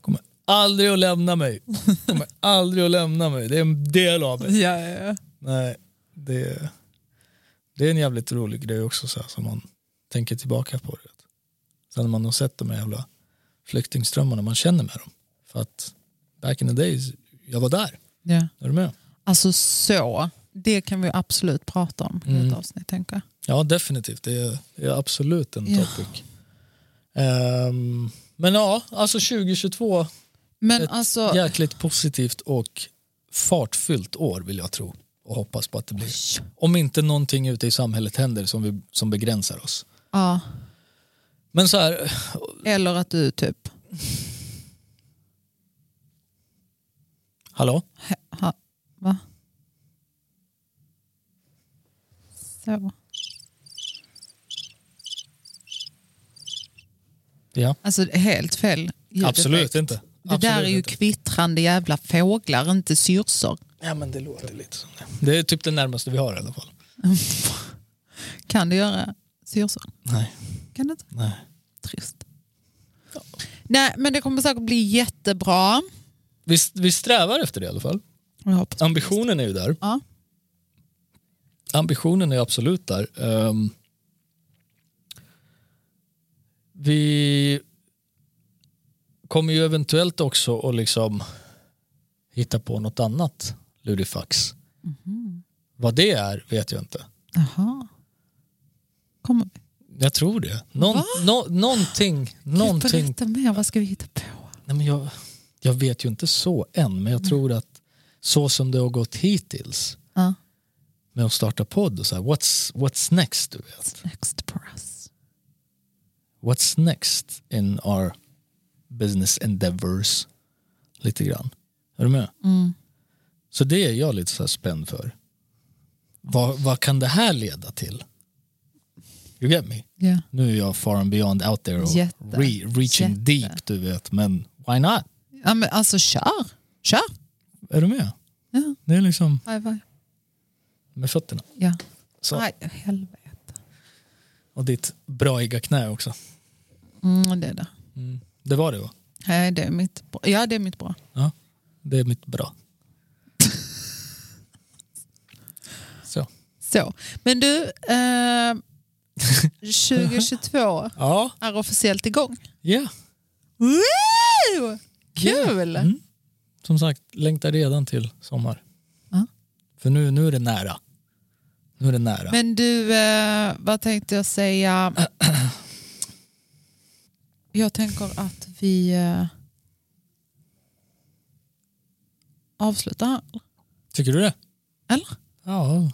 Speaker 1: kommer aldrig att lämna mig. Kommer aldrig att lämna mig. Det är en del av mig.
Speaker 2: Ja, ja, ja.
Speaker 1: Nej, det, det är en jävligt rolig grej också så här, som man tänker tillbaka på. Det. Sen när man har sett de här jävla flyktingströmmarna, man känner med dem. För att back in the days, jag var där.
Speaker 2: ja.
Speaker 1: Är du med?
Speaker 2: Alltså så, det kan vi absolut prata om i ett
Speaker 1: Mm.
Speaker 2: avsnitt tänker jag.
Speaker 1: Ja, definitivt. Det är, det är absolut en
Speaker 2: Ja.
Speaker 1: topic. Ehm, men ja, alltså 2022,
Speaker 2: Men
Speaker 1: Ett
Speaker 2: alltså...
Speaker 1: jäkligt positivt och fartfyllt år vill jag tro och hoppas på att det blir.
Speaker 2: Oj.
Speaker 1: Om inte någonting ute i samhället händer som, vi, som begränsar oss.
Speaker 2: Ja.
Speaker 1: Men så här,
Speaker 2: Eller att du typ...
Speaker 1: hallå?
Speaker 2: he- Ha, va? Så.
Speaker 1: Ja,
Speaker 2: Alltså det är helt fel ljudeffekt.
Speaker 1: absolut inte.
Speaker 2: Det där är ju kvittrande jävla fåglar, inte syrsor.
Speaker 1: Ja, men det låter lite som det. Det är typ det närmaste vi har i alla fall.
Speaker 2: Kan du göra syrsor?
Speaker 1: Nej,
Speaker 2: Kan du inte?
Speaker 1: nej.
Speaker 2: Trist. Nej, men det kommer säkert bli jättebra.
Speaker 1: Vi, vi strävar efter det i alla fall.
Speaker 2: Jag hoppas.
Speaker 1: Ambitionen är ju där.
Speaker 2: Ja.
Speaker 1: Ambitionen är absolut där. Ehm, vi kommer ju eventuellt också att liksom hitta på något annat lurifax. Vad det är vet jag inte.
Speaker 2: Jaha. Kommer vi?
Speaker 1: Jag tror det. Någon, nå- någonting. någonting.
Speaker 2: Berätta mer, vad ska vi hitta på?
Speaker 1: Nej, men jag, jag vet ju inte så än,
Speaker 2: Mm.
Speaker 1: men jag tror att så som det har gått hittills
Speaker 2: Ja.
Speaker 1: med att starta podd och så här, what's, what's next? Du vet?
Speaker 2: Next for us.
Speaker 1: what's next in our business endeavors. Lite grann. Är du med?
Speaker 2: Mm.
Speaker 1: Så det är jag lite så här spänd för. Vad, vad kan det här leda till? You get me?
Speaker 2: Ja.
Speaker 1: Nu är jag far and beyond out there och
Speaker 2: Jätte.
Speaker 1: re, reaching
Speaker 2: Jätte.
Speaker 1: deep du vet. Men why not?
Speaker 2: ja, men alltså kör. Kör.
Speaker 1: Är du med?
Speaker 2: Ja.
Speaker 1: Det är liksom
Speaker 2: Vaj, vaj.
Speaker 1: med fötterna.
Speaker 2: Ja.
Speaker 1: Så.
Speaker 2: Aj, helvete.
Speaker 1: Och ditt braiga knä också.
Speaker 2: Mm, det är det.
Speaker 1: Det var det va?
Speaker 2: Nej, det är mitt bra. Ja, det är mitt bra.
Speaker 1: Ja, det är mitt bra. Så.
Speaker 2: Så. Men du, eh, 2022
Speaker 1: Ja.
Speaker 2: är officiellt igång.
Speaker 1: Ja.
Speaker 2: Woo! Kul!
Speaker 1: Mm. Som sagt, längtar redan till sommar.
Speaker 2: Ja.
Speaker 1: För nu, nu är det nära. Nu är det nära.
Speaker 2: Men du, eh, vad tänkte jag säga? Jag tänker att vi eh, avslutar här.
Speaker 1: Tycker du det?
Speaker 2: Eller?
Speaker 1: Ja.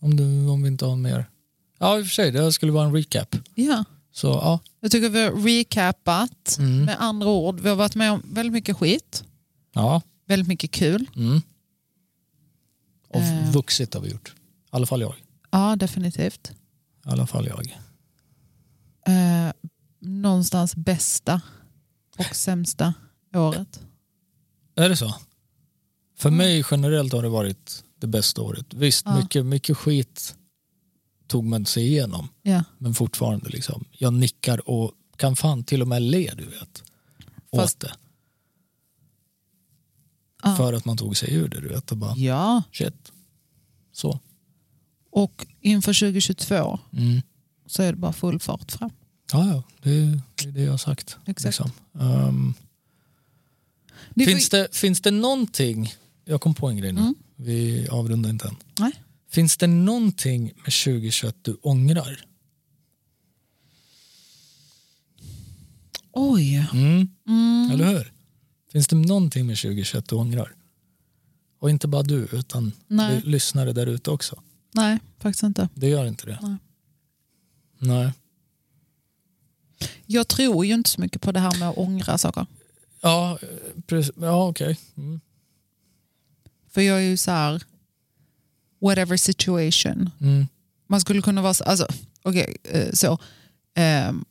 Speaker 1: Om, du, om vi inte har mer. Ja, i och för sig. Det här skulle vara en recap.
Speaker 2: Ja.
Speaker 1: Så ja.
Speaker 2: Jag tycker vi har recapat.
Speaker 1: Mm.
Speaker 2: Med andra ord, vi har varit med om väldigt mycket skit.
Speaker 1: Ja.
Speaker 2: Väldigt mycket kul.
Speaker 1: Mm. Och
Speaker 2: Eh.
Speaker 1: vuxit har vi gjort. I alla fall jag.
Speaker 2: Ja, definitivt.
Speaker 1: I alla fall jag.
Speaker 2: Eh, någonstans bästa och sämsta året.
Speaker 1: Är det så? För mig generellt har det varit det bästa året. Visst,
Speaker 2: Mm. Ja.
Speaker 1: mycket, mycket skit tog man sig igenom.
Speaker 2: Ja.
Speaker 1: Men fortfarande liksom, jag nickar och kan fan till och med le du vet.
Speaker 2: Fast-
Speaker 1: åt det.
Speaker 2: Ja.
Speaker 1: För att man tog sig ur det du vet. Och bara,
Speaker 2: ja.
Speaker 1: shit. Så.
Speaker 2: Och inför 2022
Speaker 1: Mm.
Speaker 2: så är det bara full fart fram.
Speaker 1: Ja, ja, det är det, är det jag har sagt.
Speaker 2: Exakt.
Speaker 1: Ehm,
Speaker 2: Ni får-
Speaker 1: finns, det, finns det någonting, jag kom på en grej nu,
Speaker 2: Mm.
Speaker 1: vi avrundar inte än.
Speaker 2: Nej.
Speaker 1: Finns det någonting med 2021 du ångrar?
Speaker 2: Oj.
Speaker 1: Mm.
Speaker 2: Mm.
Speaker 1: Eller hur? Finns det någonting med 2021 du ångrar? Och inte bara du, utan
Speaker 2: Nej.
Speaker 1: du lyssnare där ute också.
Speaker 2: Nej, faktiskt inte.
Speaker 1: Det gör inte det.
Speaker 2: Nej.
Speaker 1: Nej.
Speaker 2: Jag tror ju inte så mycket på det här med att ångra saker.
Speaker 1: Ja, eh, precis. Ja, okej. Mm.
Speaker 2: För jag är ju så här, whatever situation.
Speaker 1: Mm.
Speaker 2: Man skulle kunna vara så, alltså, okej, eh, så. ehm,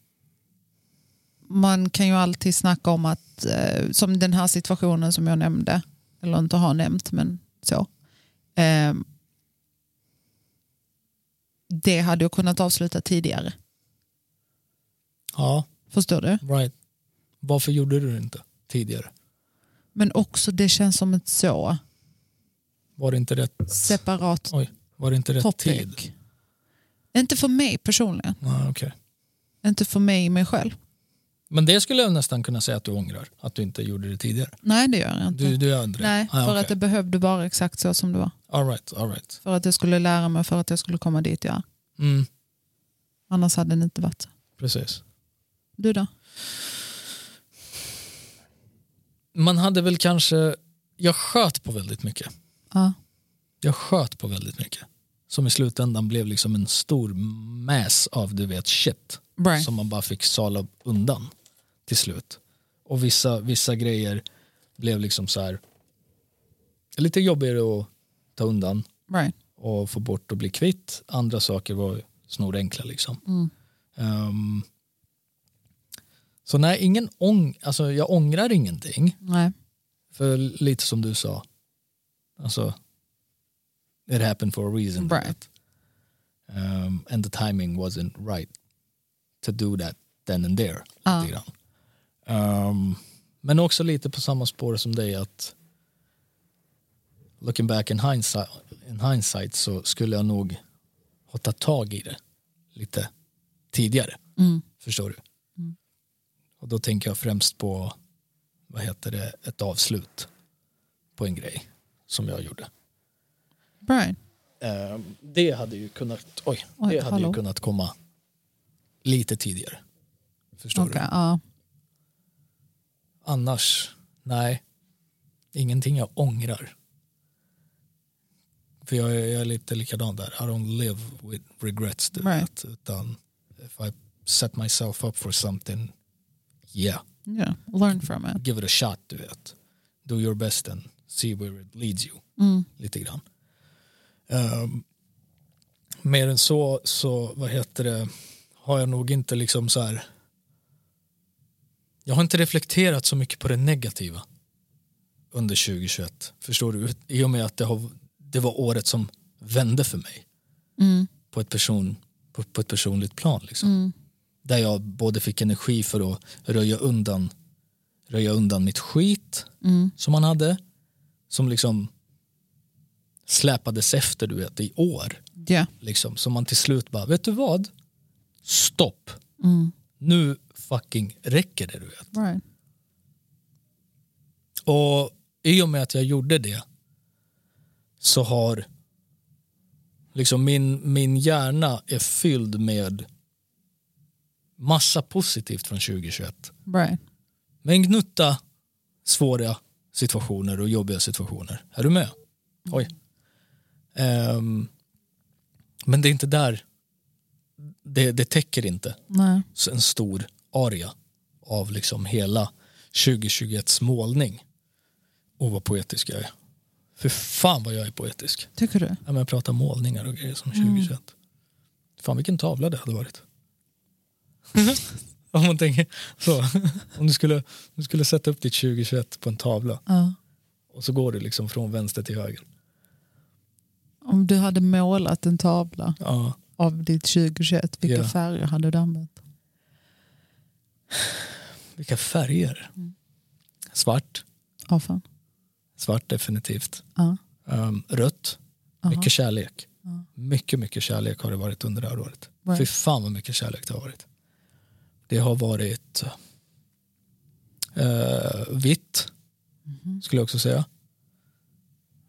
Speaker 2: man kan ju alltid snacka om att, eh, som den här situationen som jag nämnde, eller inte har nämnt, men så. Eh, det hade jag kunnat avsluta tidigare.
Speaker 1: Ja,
Speaker 2: Förstår du?
Speaker 1: right. Varför gjorde du det inte tidigare?
Speaker 2: Men också det känns som ett så
Speaker 1: Var det inte rätt,
Speaker 2: separat
Speaker 1: var det inte rätt tid?
Speaker 2: topic. Inte för mig personligen.
Speaker 1: Ah, okay.
Speaker 2: Inte för mig mig själv.
Speaker 1: Men det skulle jag nästan kunna säga att du ångrar, att du inte gjorde det tidigare.
Speaker 2: Nej det gör jag inte.
Speaker 1: Du, du är äldre.
Speaker 2: Nej, typ-
Speaker 1: ah,
Speaker 2: för att det behövde vara exakt så som det var.
Speaker 1: all right, all right.
Speaker 2: För att jag skulle lära mig, för att jag skulle komma dit jag är.
Speaker 1: Mm,
Speaker 2: Annars hade det inte varit så.
Speaker 1: precis.
Speaker 2: Du då?
Speaker 1: Man hade väl kanske... Jag sköt på väldigt mycket.
Speaker 2: Ja.
Speaker 1: Jag sköt på väldigt mycket. Som i slutändan blev liksom en stor mäs av du vet shit.
Speaker 2: Right.
Speaker 1: Som man bara fick sala undan till slut. Och vissa, vissa grejer blev liksom så här lite jobbigare att ta undan
Speaker 2: Right.
Speaker 1: och få bort och bli kvitt. Andra saker var snorenkla liksom.
Speaker 2: Mm.
Speaker 1: Ehm, så nej, ingen ång- alltså, jag ångrar ingenting.
Speaker 2: Nej.
Speaker 1: För lite som du sa, alltså it happened for a reason.
Speaker 2: Right.
Speaker 1: Um, and the timing wasn't right to do that then and there.
Speaker 2: Ja.
Speaker 1: lite grann. Um, men också lite på samma spår som dig att looking back in hindsight, in hindsight så skulle jag nog ha tagit tag i det lite tidigare.
Speaker 2: Mm.
Speaker 1: Förstår du? Och då tänker jag främst på vad heter det, ett avslut på en grej som jag gjorde.
Speaker 2: Right.
Speaker 1: Eh, det hade ju kunnat, oj,
Speaker 2: Oj,
Speaker 1: det hade
Speaker 2: hallå.
Speaker 1: ju kunnat komma lite tidigare. Förstår
Speaker 2: Okej,
Speaker 1: du?
Speaker 2: ja.
Speaker 1: Annars, nej. Ingenting jag ångrar. För jag, är- jag är lite likadan där. I don't live with regrets. Du
Speaker 2: Right.
Speaker 1: vet. Utan if I set myself up for something, yeah.
Speaker 2: Yeah. Learn from it.
Speaker 1: give it a shot, du vet. Do your best and see where it leads you.
Speaker 2: Mm.
Speaker 1: Lite grann. Ehm, mer än så, så vad heter det, har jag nog inte liksom så här. Jag har inte reflekterat så mycket på det negativa under 2021. Förstår du? I och med att det, har, det var året som vände för mig
Speaker 2: Mm.
Speaker 1: på ett, person, på, på ett personligt plan. Liksom. Där jag både fick energi för att röja undan, röja undan mitt skit
Speaker 2: Mm.
Speaker 1: som man hade. Som liksom släpades efter du vet, i år.
Speaker 2: Yeah.
Speaker 1: Liksom. Så man till slut bara, vet du vad? Stopp.
Speaker 2: Mm.
Speaker 1: Nu fucking räcker det du vet.
Speaker 2: Right.
Speaker 1: Och i och med att jag gjorde det så har liksom min, min hjärna är fylld med massa positivt från 2021.
Speaker 2: Right.
Speaker 1: Men gnutta svåra situationer och jobbiga situationer. Är du med? Oj. Ehm, men det är inte där, det, det täcker inte
Speaker 2: Nej.
Speaker 1: s- en stor aria av liksom hela 2021s målning. Och vad poetisk jag är. För fan vad jag är poetisk.
Speaker 2: Tycker du?
Speaker 1: Ja, men Jag pratar målningar och grejer som 2021. Fan vilken tavla det hade varit. om man tänker så. Om du skulle, du skulle sätta upp ditt 2021 på en tavla
Speaker 2: Ja.
Speaker 1: och så går du liksom från vänster till höger.
Speaker 2: Om du hade målat en tavla
Speaker 1: Ja.
Speaker 2: av ditt 2021, vilka
Speaker 1: Ja.
Speaker 2: färger hade du använt?
Speaker 1: Vilka färger. Svart.
Speaker 2: Ja, fan.
Speaker 1: Svart definitivt.
Speaker 2: Ja.
Speaker 1: Ehm, rött.
Speaker 2: Aha.
Speaker 1: Mycket kärlek.
Speaker 2: Ja.
Speaker 1: Mycket, mycket kärlek har det varit under det här året.
Speaker 2: Right.
Speaker 1: Fy fan vad mycket kärlek det har varit. Det har varit eh, vitt,
Speaker 2: Mhm.
Speaker 1: skulle jag också säga.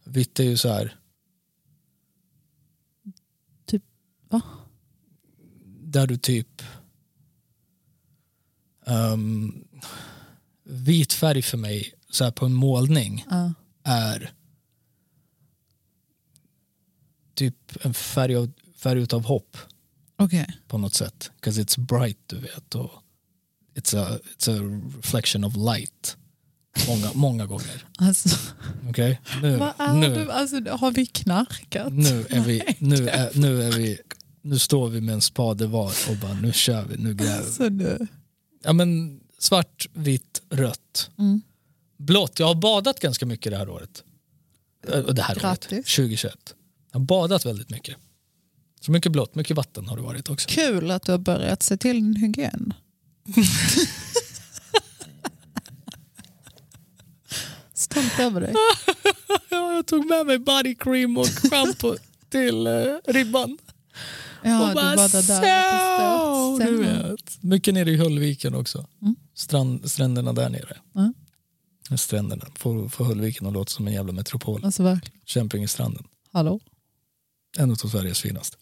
Speaker 1: Vitt är ju så här,
Speaker 2: Typ, Va?
Speaker 1: där du typ... ehm, vit färg för mig, så här på en målning,
Speaker 2: Ja.
Speaker 1: är typ en färg, av, färg utav hopp
Speaker 2: Okej.
Speaker 1: på något sätt. Because it's bright du vet. Och it's, a, it's a reflection of light. Många, många gånger.
Speaker 2: Alltså,
Speaker 1: Okej? Nu,
Speaker 2: vad är
Speaker 1: nu,
Speaker 2: du? Alltså, har vi knarkat?
Speaker 1: nu är vi, nu är, nu är vi, nu står vi med en spade var och bara nu kör vi, nu gräver vi.
Speaker 2: Alltså, nu.
Speaker 1: Ja men Svart, vitt, rött.
Speaker 2: Mm.
Speaker 1: Blått. Jag har badat ganska mycket det här året. Ö, Det här året,
Speaker 2: Grattis.
Speaker 1: 2021. Jag har badat väldigt mycket. Så mycket blått, mycket vatten har det varit också.
Speaker 2: Kul att du har börjat se till din hygien. Stolt över dig.
Speaker 1: Ja, jag tog med mig body cream och shampoo till eh, ribban.
Speaker 2: Ja,
Speaker 1: och
Speaker 2: du var där.
Speaker 1: så,
Speaker 2: där
Speaker 1: du vet. Mycket nere i Höllviken också.
Speaker 2: Mm.
Speaker 1: Strand, stränderna där nere.
Speaker 2: Mm.
Speaker 1: Stränderna. Får, får Höllviken att låta som en jävla metropol.
Speaker 2: Alltså verkligen.
Speaker 1: Kämpingestranden.
Speaker 2: Hallå?
Speaker 1: En av Sveriges finaste.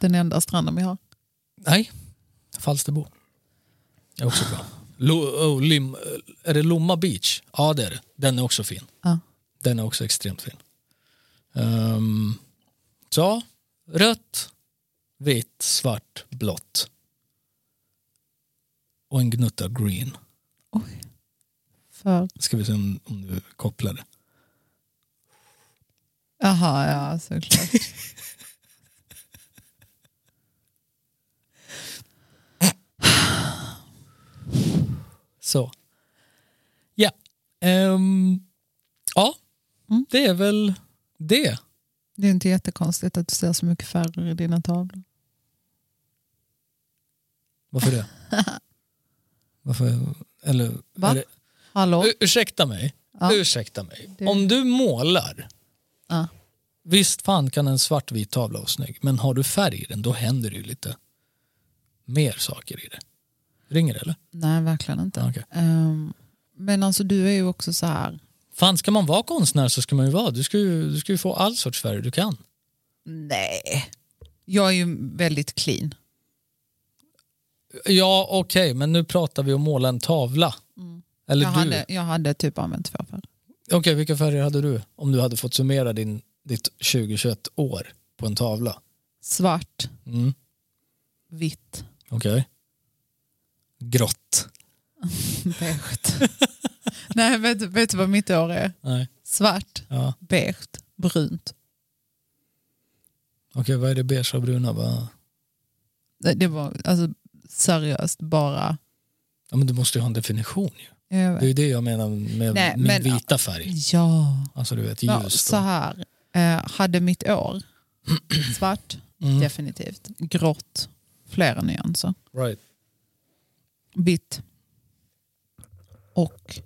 Speaker 2: Den enda stranden vi har.
Speaker 1: Nej, Falsterbo. Är också bra. Lo, oh, lim, är det Lomma Beach? Ja det är det. Den är också fin.
Speaker 2: Ja.
Speaker 1: Den är också extremt fin. Ehm, så, ja. rött, vitt, svart, blått. Och en gnutta green.
Speaker 2: Oj. För...
Speaker 1: Ska vi se om, om du kopplar det.
Speaker 2: Jaha, ja såklart.
Speaker 1: Så. Ja. Ehm, ja,
Speaker 2: Mm.
Speaker 1: det är väl det.
Speaker 2: Det är inte jättekonstigt att du ser så mycket färre i dina tavlor.
Speaker 1: Varför det? Varför? Eller,
Speaker 2: Va?
Speaker 1: är det,
Speaker 2: Hallå?
Speaker 1: U- ursäkta mig.
Speaker 2: Ja.
Speaker 1: Ursäkta mig.
Speaker 2: Det-
Speaker 1: Om du målar,
Speaker 2: Ja.
Speaker 1: visst fan kan en svartvit tavla vara snygg, men har du färg i den då händer det ju lite mer saker i det. Ringer det eller?
Speaker 2: Nej, verkligen inte.
Speaker 1: Ja, okej.
Speaker 2: Ehm, men alltså du är ju också så här...
Speaker 1: Fan ska man vara konstnär så ska man ju vara. Du ska ju, du ska ju få all sorts färg du kan.
Speaker 2: Nej. Jag är ju väldigt clean.
Speaker 1: Ja okej, men nu pratar vi om måla en tavla. Eller
Speaker 2: Mm. Jag
Speaker 1: du.
Speaker 2: hade, jag hade typ använt två färger.
Speaker 1: Okej, vilka färger hade du? Om du hade fått summera din, ditt 2021 år på en tavla.
Speaker 2: Svart,
Speaker 1: Mm.
Speaker 2: vitt,
Speaker 1: Okej. Grått.
Speaker 2: beige. Nej, vet, vet du vad mitt år är?
Speaker 1: Nej.
Speaker 2: Svart,
Speaker 1: Ja.
Speaker 2: beige, brunt.
Speaker 1: Okej, vad är det beige och bruna? Va?
Speaker 2: Det det var alltså, seriöst bara... eh,
Speaker 1: Ja, men du måste ju ha en definition. Ju. Det
Speaker 2: Jag
Speaker 1: är
Speaker 2: vet.
Speaker 1: ju det jag menar med
Speaker 2: Nej,
Speaker 1: min
Speaker 2: men-
Speaker 1: vita färg.
Speaker 2: Ja.
Speaker 1: Alltså du vet,
Speaker 2: ja,
Speaker 1: ljus.
Speaker 2: så
Speaker 1: Ja,
Speaker 2: här. Eh, hade mitt år svart,
Speaker 1: mm.
Speaker 2: definitivt. Grått, flera nyanser.
Speaker 1: Right.
Speaker 2: Vitt och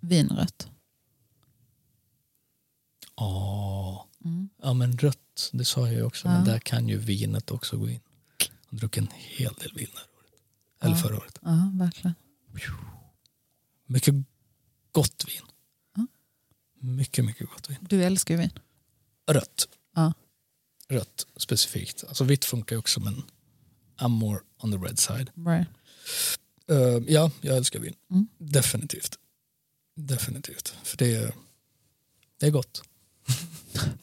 Speaker 2: vinrött.
Speaker 1: Åh.
Speaker 2: Mm.
Speaker 1: Ja, men rött, det sa jag ju också.
Speaker 2: Ja.
Speaker 1: Men där kan ju vinet också gå in. Jag har druckit en hel del vin det här året. Eller
Speaker 2: Ja.
Speaker 1: förra året.
Speaker 2: Ja, verkligen.
Speaker 1: Mycket gott vin.
Speaker 2: Ja.
Speaker 1: Mycket, mycket gott vin.
Speaker 2: Du älskar ju vin.
Speaker 1: Rött.
Speaker 2: Ja.
Speaker 1: Rött specifikt. Alltså vitt funkar ju också men I'm more on the red side.
Speaker 2: Right.
Speaker 1: Eh, ja, jag älskar vin.
Speaker 2: Mm.
Speaker 1: Definitivt. Definitivt. För det är, det är gott.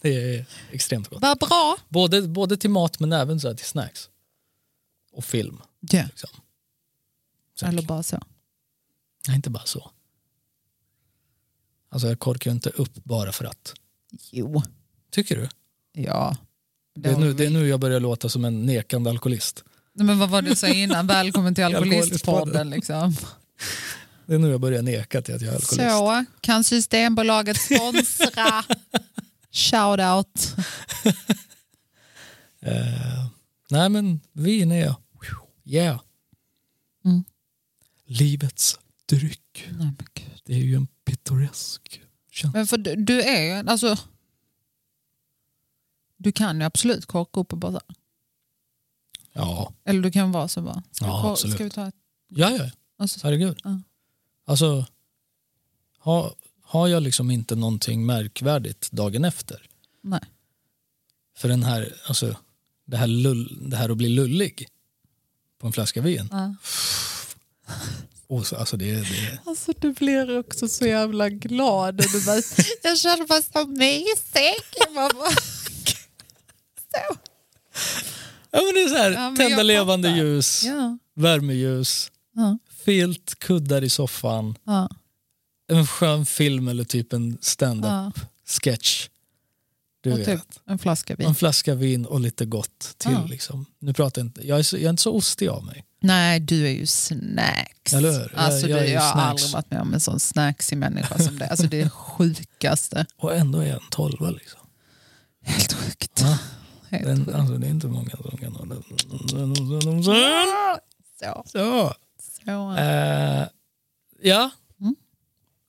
Speaker 1: det är extremt gott.
Speaker 2: Vad bra!
Speaker 1: Både, både till mat men även så här till snacks. Och film.
Speaker 2: Ja,
Speaker 1: Liksom. Säkert.
Speaker 2: eller bara så.
Speaker 1: Nej, inte bara så. Alltså jag korkar ju inte upp bara för att.
Speaker 2: Jo,
Speaker 1: Tycker du?
Speaker 2: ja.
Speaker 1: Det är, nu, det är nu jag börjar låta som en nekande alkoholist.
Speaker 2: Nej, Men vad var det du sa innan? Välkommen till Alkoholistpodden. Liksom.
Speaker 1: Det är nu jag börjar neka till att jag är alkoholist.
Speaker 2: Så, kan Systembolaget sponsra? Shout out.
Speaker 1: Eh, nej men vin är jag. Yeah.
Speaker 2: Mm.
Speaker 1: Livets dryck.
Speaker 2: Nej, men gud.
Speaker 1: Det är ju en pittoresk känsla.
Speaker 2: Men för du, du är ju, alltså. Du kan ju absolut korka upp och bara så här.
Speaker 1: Ja,
Speaker 2: Eller du kan vara så bara. Ska,
Speaker 1: Ja,
Speaker 2: vi, kor-
Speaker 1: absolut.
Speaker 2: ska vi ta ett?
Speaker 1: ja, ja.
Speaker 2: Alltså,
Speaker 1: herregud.
Speaker 2: Ja.
Speaker 1: Alltså, ha, har jag liksom inte någonting märkvärdigt dagen efter?
Speaker 2: nej.
Speaker 1: För den här, alltså, det, här lull, det här att bli lullig på en flaska vin.
Speaker 2: Ja.
Speaker 1: Och så, alltså det, det,
Speaker 2: Alltså du blir också så jävla glad. Och du bara, jag känner mig så mysig. Jag bara, "Va?"
Speaker 1: ja, men det är så här,
Speaker 2: Ja, men
Speaker 1: tända
Speaker 2: jag
Speaker 1: levande
Speaker 2: fattar.
Speaker 1: ljus,
Speaker 2: ja,
Speaker 1: värmeljus,
Speaker 2: ja,
Speaker 1: filt, kuddar i soffan,
Speaker 2: ja,
Speaker 1: en skön film eller typ en stand-up
Speaker 2: ja.
Speaker 1: sketch. Du
Speaker 2: Och
Speaker 1: vet.
Speaker 2: typ en flaska
Speaker 1: En
Speaker 2: vin.
Speaker 1: flaska vin och lite gott till.
Speaker 2: Ja.
Speaker 1: Liksom. Nu pratar jag, inte, jag, är så, jag är inte så ostig av mig.
Speaker 2: Nej, du är ju snacks.
Speaker 1: Eller hur? Jag-
Speaker 2: Alltså,
Speaker 1: jag är
Speaker 2: du,
Speaker 1: ju
Speaker 2: jag har
Speaker 1: snacks.
Speaker 2: aldrig varit med om en sån snacksig människa som det. Alltså, det är det sjukaste.
Speaker 1: Och ändå är jag en tolva liksom.
Speaker 2: Helt sjukt.
Speaker 1: Ja.
Speaker 2: Helt
Speaker 1: Den,
Speaker 2: sjukt.
Speaker 1: alltså, det är inte många som kan ha den.
Speaker 2: Så,
Speaker 1: Så.
Speaker 2: så.
Speaker 1: Eh, ja.
Speaker 2: Mm.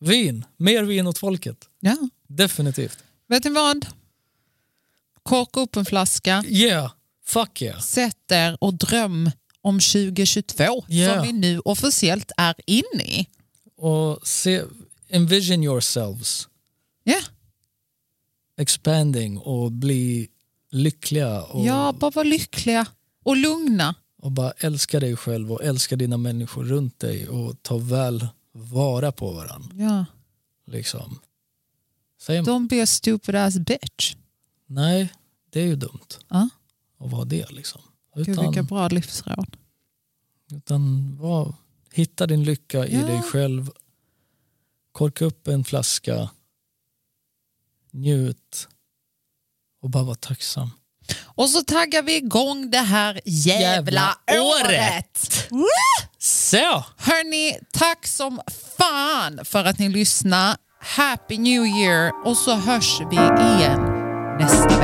Speaker 1: Vin. Mer vin åt folket.
Speaker 2: Ja.
Speaker 1: Definitivt.
Speaker 2: Vet ni vad? Korka upp en flaska,
Speaker 1: Yeah. Fuck yeah.
Speaker 2: sätt er och dröm om 2022
Speaker 1: Ja.
Speaker 2: som vi nu officiellt är inne i.
Speaker 1: Och se, envision yourselves
Speaker 2: Ja,
Speaker 1: expanding och bli lyckliga och,
Speaker 2: ja bara var lyckliga och lugna.
Speaker 1: och bara älska dig själv och älska dina människor runt dig och ta väl vara på varandra.
Speaker 2: Ja.
Speaker 1: Liksom. Säger man?
Speaker 2: Don't be a stupid ass bitch.
Speaker 1: Nej, det är ju dumt
Speaker 2: Ja.
Speaker 1: att vara det. Liksom.
Speaker 2: Gud,
Speaker 1: Utan,
Speaker 2: vilka bra livsråd.
Speaker 1: utan var, hitta din lycka i
Speaker 2: Ja.
Speaker 1: dig själv. Korka upp en flaska. Njut. Och bara vara tacksam.
Speaker 2: Och så taggar vi igång det här jävla,
Speaker 1: Jävla
Speaker 2: året.
Speaker 1: Så!
Speaker 2: Hörni, tack som fan för att ni lyssnade. Happy New Year och så hörs vi igen nästa